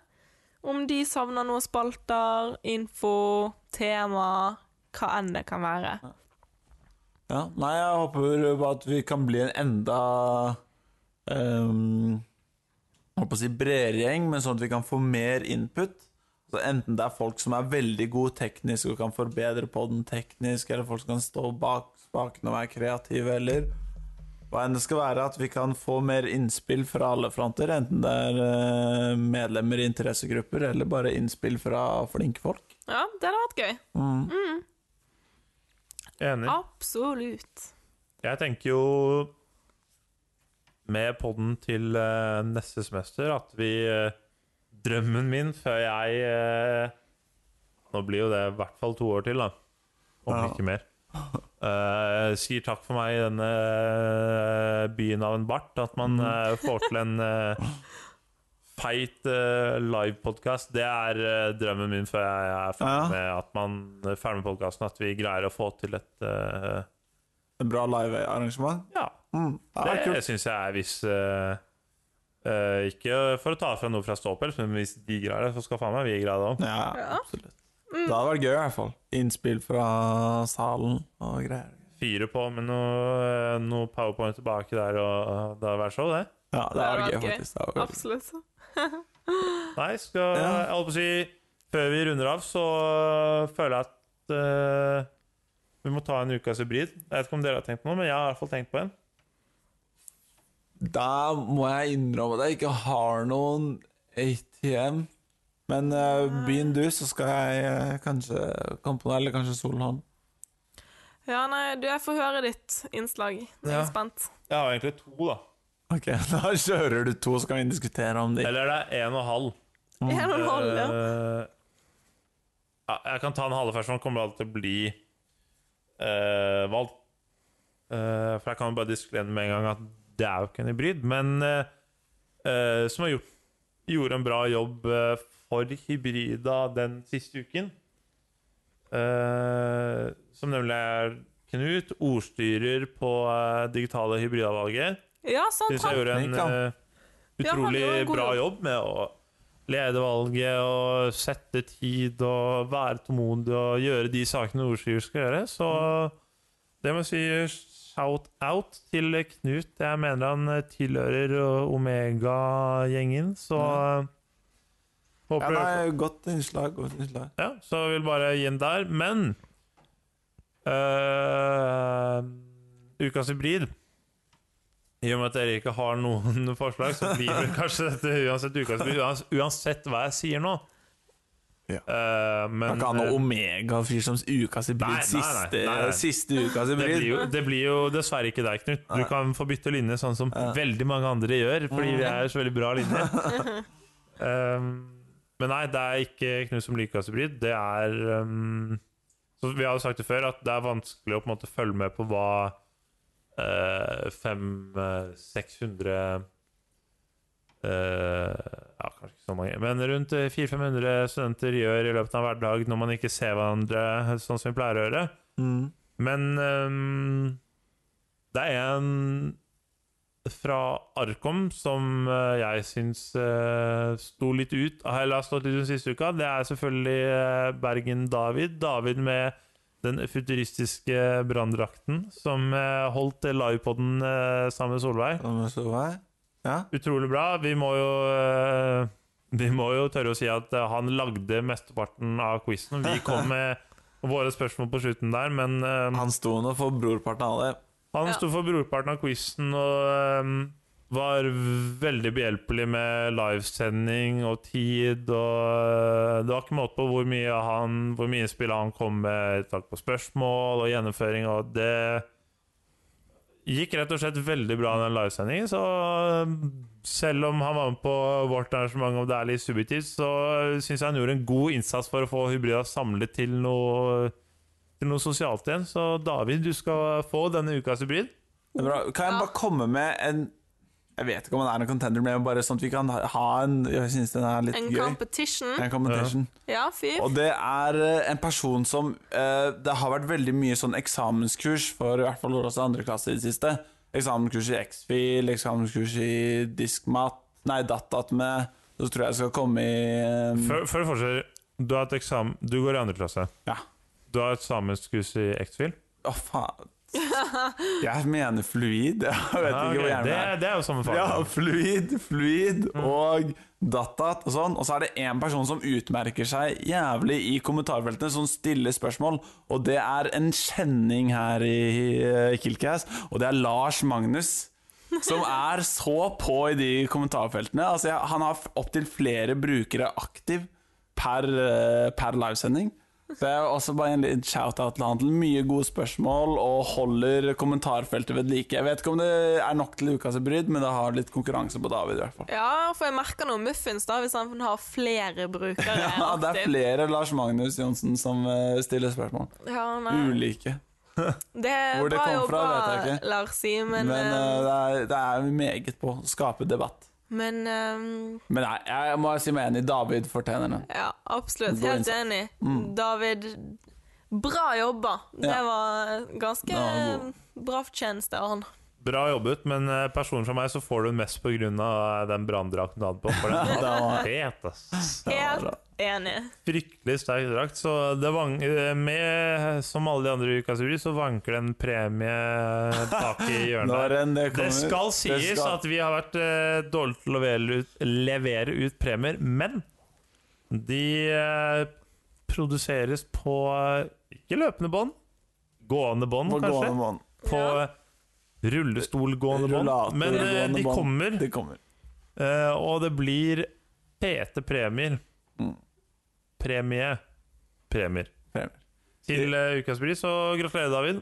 Om de savner noen spalter, info, tema, hva enn det kan være.
Ja, nei, jeg håper bare at vi kan bli en enda ehm, Jeg holdt på å si bredere gjeng, men sånn at vi kan få mer input. Så enten det er folk som er veldig gode teknisk og kan forbedre podden teknisk, eller folk som kan stå bak spakene og være kreative, eller hva enn det skal være, at vi kan få mer innspill fra alle fronter. Enten det er eh, medlemmer i interessegrupper, eller bare innspill fra flinke folk.
Ja, det hadde vært gøy.
Mm.
Enig.
Absolutt.
Jeg tenker jo med podden til eh, neste semester at vi eh, Drømmen min før jeg eh, Nå blir jo det i hvert fall to år til, da. Om
Ja.
ikke mer. Eh, sier takk for meg i denne eh, byen av en bart. At man
Mm.
eh, får til en uh, feit uh, livepodkast, det er eh, drømmen min før jeg er ferdig
Ja.
med at man er ferdig med podkasten. At vi greier å få til et eh,
Et bra livearrangement.
ja,
Mm. Ja, det er kult.
det syns jeg er hvis eh, eh, Ikke for å ta fra noe fra Ståpels, men hvis de greier det, så skal faen meg vi greie det òg.
Ja,
Ja. Mm.
absolutt. Det hadde vært gøy, i hvert fall. Innspill fra salen og greier.
Fyre på med noe, eh, noe powerpoint tilbake der, og eh, det hadde vært show, det.
Ja, det hadde
Det
vært
hadde vært
gøy,
gøy.
faktisk. Det hadde vært gøy.
Absolutt.
Nei, skal
Ja.
Jeg holdt på å si Før vi runder av, så føler jeg at eh, vi må ta en ukas hybrid. Jeg vet ikke om dere har tenkt på noe, men jeg har i hvert fall tenkt på en.
Da må jeg innrømme at jeg ikke har noen ATM. Men uh, begynn du, så skal jeg eh, kanskje komme på noe, eller kanskje Solholm.
Ja, nei, du, jeg får høre ditt innslag. Jeg er
Ja.
spent.
Jeg har egentlig to, da.
Ok, da kjører du to, så kan vi diskutere om det.
Eller det er én og en halv.
Jeg er noen hold, ja.
Eh, ja, jeg kan ta den halve først, for den kommer alltid til å bli eh, valgt. Eh, for jeg kan jo bare disklene med en gang at det er jo ikke en hybrid, men eh, eh, som har gjort, gjorde en bra jobb eh, for hybrida den siste uken. Eh, som nemlig er Knut, ordstyrer på eh, digitale hybridavalget.
Ja, sant.
Syns jeg gjorde en
Takk,
eh,
Ja, han
utrolig
gjorde en god
bra
jobb.
jobb med å lede valget og sette tid og være tålmodig og gjøre de sakene ordstyrer skal gjøre. Så det må jeg si shout-out til Knut. Jeg mener han eh, tilhører eh, Omega-gjengen, så eh,
Ja,
håper du
nei, godt innslag. Godt innslag.
ja, så jeg vil bare gi den der. Men eh, Ukas hybrid I og med at dere ikke har noen forslag, så blir vel kanskje dette uansett ukas hybrid. uans- Uansett hva jeg sier nå.
Ja.
Eh, men
Det kan ikke ha
eh,
noe omega-fyr som ukas hybrid.
Nei, nei, nei,
siste,
nei, nei.
siste ukas
det blir,
hybrid.
jo, det blir jo dessverre ikke deg, Knut. Du
Nei.
kan få bytte linje, sånn som
Ja.
veldig mange andre gjør, fordi vi er så veldig bra linje. Um, men nei, det er ikke Knut som liker hybrid. Det er um, så Vi har jo sagt det før, at det er vanskelig å på en måte følge med på hva eh, fem, eh, 600 eh, Ja, kanskje ikke så mange, men rundt eh, 400-500 studenter gjør i løpet av hver dag når man ikke ser hverandre sånn som vi pleier å gjøre.
Mm.
Men ehm, det er en fra Arkom som eh, jeg syns eh, sto litt ut Eller har stått litt ut siste uka. Det er selvfølgelig eh, Bergen-David. David med den futuristiske branndrakten som eh, holdt livepoden eh, sammen med Solveig.
Som jeg så her. Ja.
Utrolig bra. Vi må jo eh, Vi må jo tørre å si at eh, han lagde mesteparten av quizen. Vi kom med våre spørsmål på slutten der, men ehm,
Han sto nå for brorparten av det.
han
Ja.
sto for brorparten av quizen og ehm, var veldig behjelpelig med livesending og tid. Og eh, det var ikke måte på hvor mye, han, hvor mye innspill han kom med i takk på spørsmål og gjennomføring. Og det gikk rett og slett veldig bra, den livesendingen. Så ehm, selv om han var med på vårt arrangement, om det er litt subjektivt, så syns jeg han gjorde en god innsats for å få Hybrida samlet til noe til noe sosialt igjen. Så David, du skal få denne ukas hybrid.
Det er bra. Kan jeg bare komme med en Jeg vet ikke om han er en contender, men bare sånn at vi kan ha- ha en Jeg synes den er litt
En
gøy.
competition.
En competition.
Ja, fy.
Og det er eh, en person som eh, Det har vært veldig mye sånn eksamenskurs for i hvert fall også andre klasser i det siste. Eksamenskurs i X-Fil, eksamenskurs i diskmat Nei, datatme. Så tror jeg jeg skal komme i eh,
Før, før du fortsetter, du, har et eksamen, du går i andre klasse.
Ja.
Du har et samenskurs i X-Fil.
Å, faen. Jeg mener fluid. Jeg vet
Ja,
ikke hvor
ok.
gjerne
det,
det er.
det er jo samme fag.
Ja, fluid, fluid og datat og sånn. Og så er det én person som utmerker seg jævlig i kommentarfeltene, som stiller spørsmål, og det er en kjenning her i eh, Kilcast, og det er Lars Magnus. Som er så på i de kommentarfeltene. Altså, jeg, han har opptil flere brukere aktiv per, eh, per livesending. Så jeg vil også bare en liten shout-out til han til mye gode spørsmål og holder kommentarfeltet ved like. Jeg vet ikke om det er nok til ukas bryd, men det har litt konkurranse på David i hvert fall.
Ja, for jeg merker noe muffins da, hvis han har flere brukere.
Ja, det er
aktivt.
flere Lars Magnus Johnsen som eh, stiller spørsmål.
Ja, nei.
Ulike.
Det
Hvor det
var
kom
jo
fra, vet
bra,
jeg ikke.
Larsi, men,
Men eh,
eh,
det, er, det er meget på å skape debatt.
men eh,
Men nei, jeg må si meg enig. David fortjener den.
Ja, absolutt.
God
Helt
innsats.
enig. David, bra jobba. Det
Mm. Ja.
var ganske
Det var god.
bra fortjeneste av han.
Bra jobbet, men eh, personer som meg så får du den mest pga. eh, den branndrakten du hadde på. For den
Det
var
var-
fet, ass.
Helt enig.
Fryktelig sterk drakt. Så det vang, eh, med, som alle de andre i ukas jury, så vanker det en premie bak i hjørnet.
Når enn det
Det
kommer
skal sies
skal-
at vi har vært eh, dårlige til å levere ut, levere ut premier, men de eh, produseres på eh, ikke løpende bånd, gående bånd,
må gå
kanskje.
en måned.
På
Ja.
eh, rullestolgående bånd. Men eh,
Rullatorgående
de
bånd.
kommer,
De kommer.
eh, og det blir fete premier.
Mm.
Premie. Premier.
Premier.
Til eh, ukas pris, så gratulerer, David.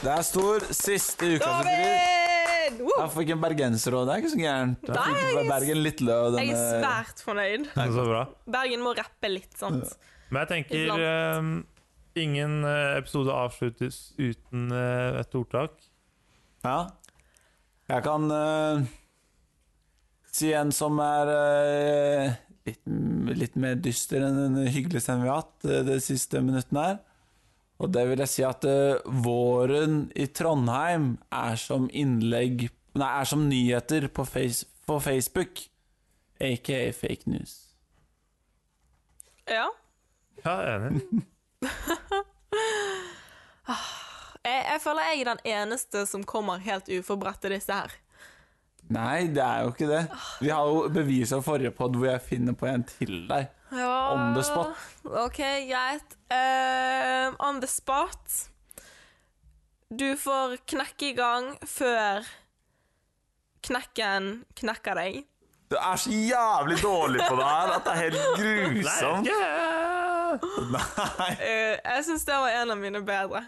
Det er stor siste ukas bryd.
David! Woo!
Jeg fikk en bergenser òg, det er ikke så gærent. Jeg fikk fra Bergen litt løv
Jeg er
denne
svært fornøyd.
Så bra.
Bergen må rappe litt, sant?
Men jeg tenker
Iblant.
eh, Ingen eh, episode avsluttes uten eh, et ordtak.
Ja. Jeg kan eh, si en som er eh, litt, litt mer dyster enn den hyggelige stemmen vi har hatt eh, de siste minuttene her. Og det vil jeg si at eh, våren i Trondheim er som innlegg Nei, er som nyheter på, face, på Facebook, aka fake news.
Ja.
Ja, jeg er enig.
Jeg, jeg føler jeg er den eneste som kommer helt uforberedt til disse her.
Nei, det er jo ikke det. Vi har jo bevis av forrige pod hvor jeg finner på en til deg.
Ja.
On the spot.
OK, greit. Eh, on the spot. Du får knekke i gang før knekken knekker deg.
Du er så jævlig dårlig på det her at det er helt grusomt. Nei.
Eh, jeg syns det var en av mine bedre.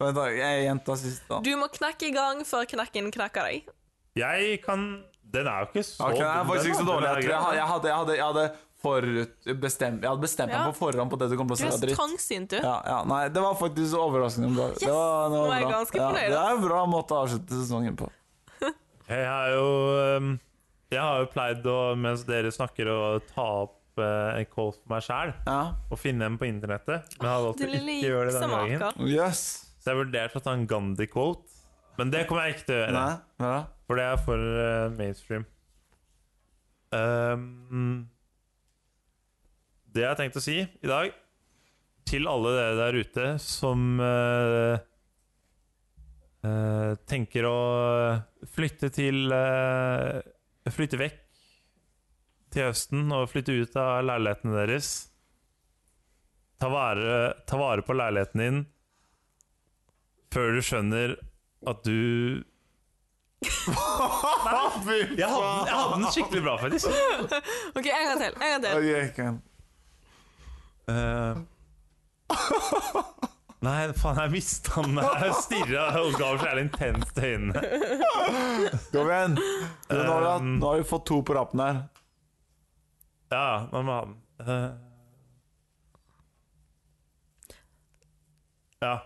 Vent, da. Jeg gjenta sist, da.
Du må knekke i gang før knekken knekker deg.
Jeg kan Den er jo ikke så
Ok, den er
dum,
faktisk
den,
ikke så
da.
dårlig. Jeg,
Den
tror jeg,
er
hadde-
grei.
jeg, hadde, jeg, hadde, jeg hadde forutbestemt Jeg hadde bestemt
Ja.
meg på forhånd på det du kom til å
Du
si
er
var
så
dritt.
trangsynt, du.
Ja, ja, nei, det var faktisk overraskende bra.
Yes!
Det var, det
Nå
var
er jeg
bra.
ganske fornøyd,
det
da.
er en bra måte å avslutte sesongen på.
Jeg har jo ehm, Jeg har jo pleid å, mens dere snakker, å ta opp eh, en call for meg sjæl
Ja.
og finne en på internettet. Men jeg har valgt å
Din lille
ikke gjøre det denne gangen.
juksemaker.
Yes.
Så jeg vurderte å ta en Gandhi-quote, men det kommer jeg ikke til å gjøre.
Nei, bra.
For det er for eh, mainstream. Ehm, det jeg har tenkt å si i dag, til alle dere der ute som eh, eh, tenker å flytte til eh, Flytte vekk til høsten og flytte ut av leilighetene deres Ta vare, ta vare på leiligheten din før du skjønner at du jeg hadde, den- jeg hadde den skikkelig bra, faktisk.
OK, en gang til. En gang til.
Eh, nei, faen, jeg mista den. Jeg stirra og ga så jævlig intenst til øynene.
Kom igjen. Du, nå, har vi hatt, nå har vi fått to på rappen her.
Ja, man må ha den. Eh, ja.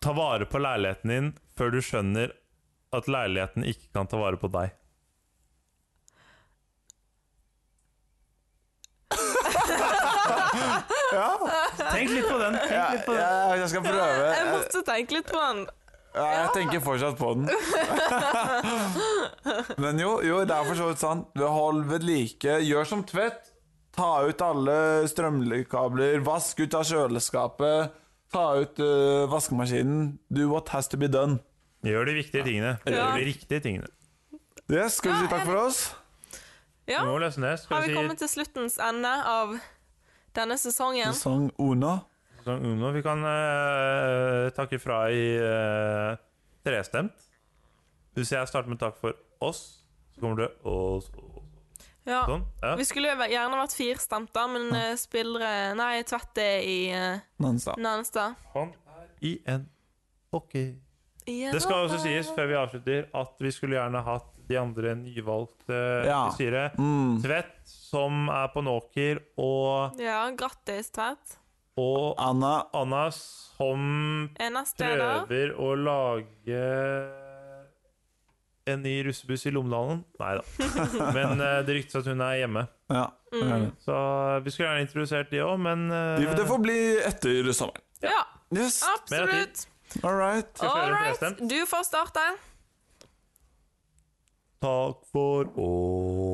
Ta vare på leiligheten din før du skjønner at leiligheten ikke kan ta vare på deg. Tenk litt på den. Tenk litt på den.
Jeg, jeg skal prøve.
Jeg måtte tenke litt på den.
Ja, jeg tenker fortsatt på den. Men jo, jo, det er for så vidt sant. Hold ved like. Gjør som Tvedt. Ta ut alle strømkabler. Vask ut av kjøleskapet. Ta ut øh, vaskemaskinen. Do what has to be done.
Gjør de viktige tingene.
Ja.
Gjør de riktige tingene.
Yes, skal vi si takk for oss?
Ja.
Vi må løse det.
Har
Skal
vi
vi
kommet
si
til sluttens ende av denne sesongen?
Sesong Ona.
sånn Uno? Vi kan øh, takke fra i øh, trestemt. Hvis jeg starter med takk for oss, så kommer det oss og
Ja.
sånn. Ja.
Vi skulle jo gjerne vært firstemt, da, men eh, spillere Nei, Tvedt er i eh,
Nanstad.
Nanstad.
Han er i en OK.
I
Det skal også
Europa.
sies før vi avslutter at vi skulle gjerne hatt de andre nyvalgte
Ja.
i styret.
Mm.
Tvedt, som er på Nåker, og,
Ja, grattis, Tvedt.
og
Anna.
Anna, som
Eneste leder.
prøver å lage en ny russebuss i Lommedalen. Nei da. Men eh, det ryktes at hun er hjemme.
Ja.
Mm.
Så eh, vi skulle gjerne introdusert de òg, men eh,
Det det får bli etter sommeren.
Ja,
Yes,
Mer av
absolutt.
all right.
Skal vi
All
kjøre
right,
forresten?
du får starte.
Takk for oss.
Oh.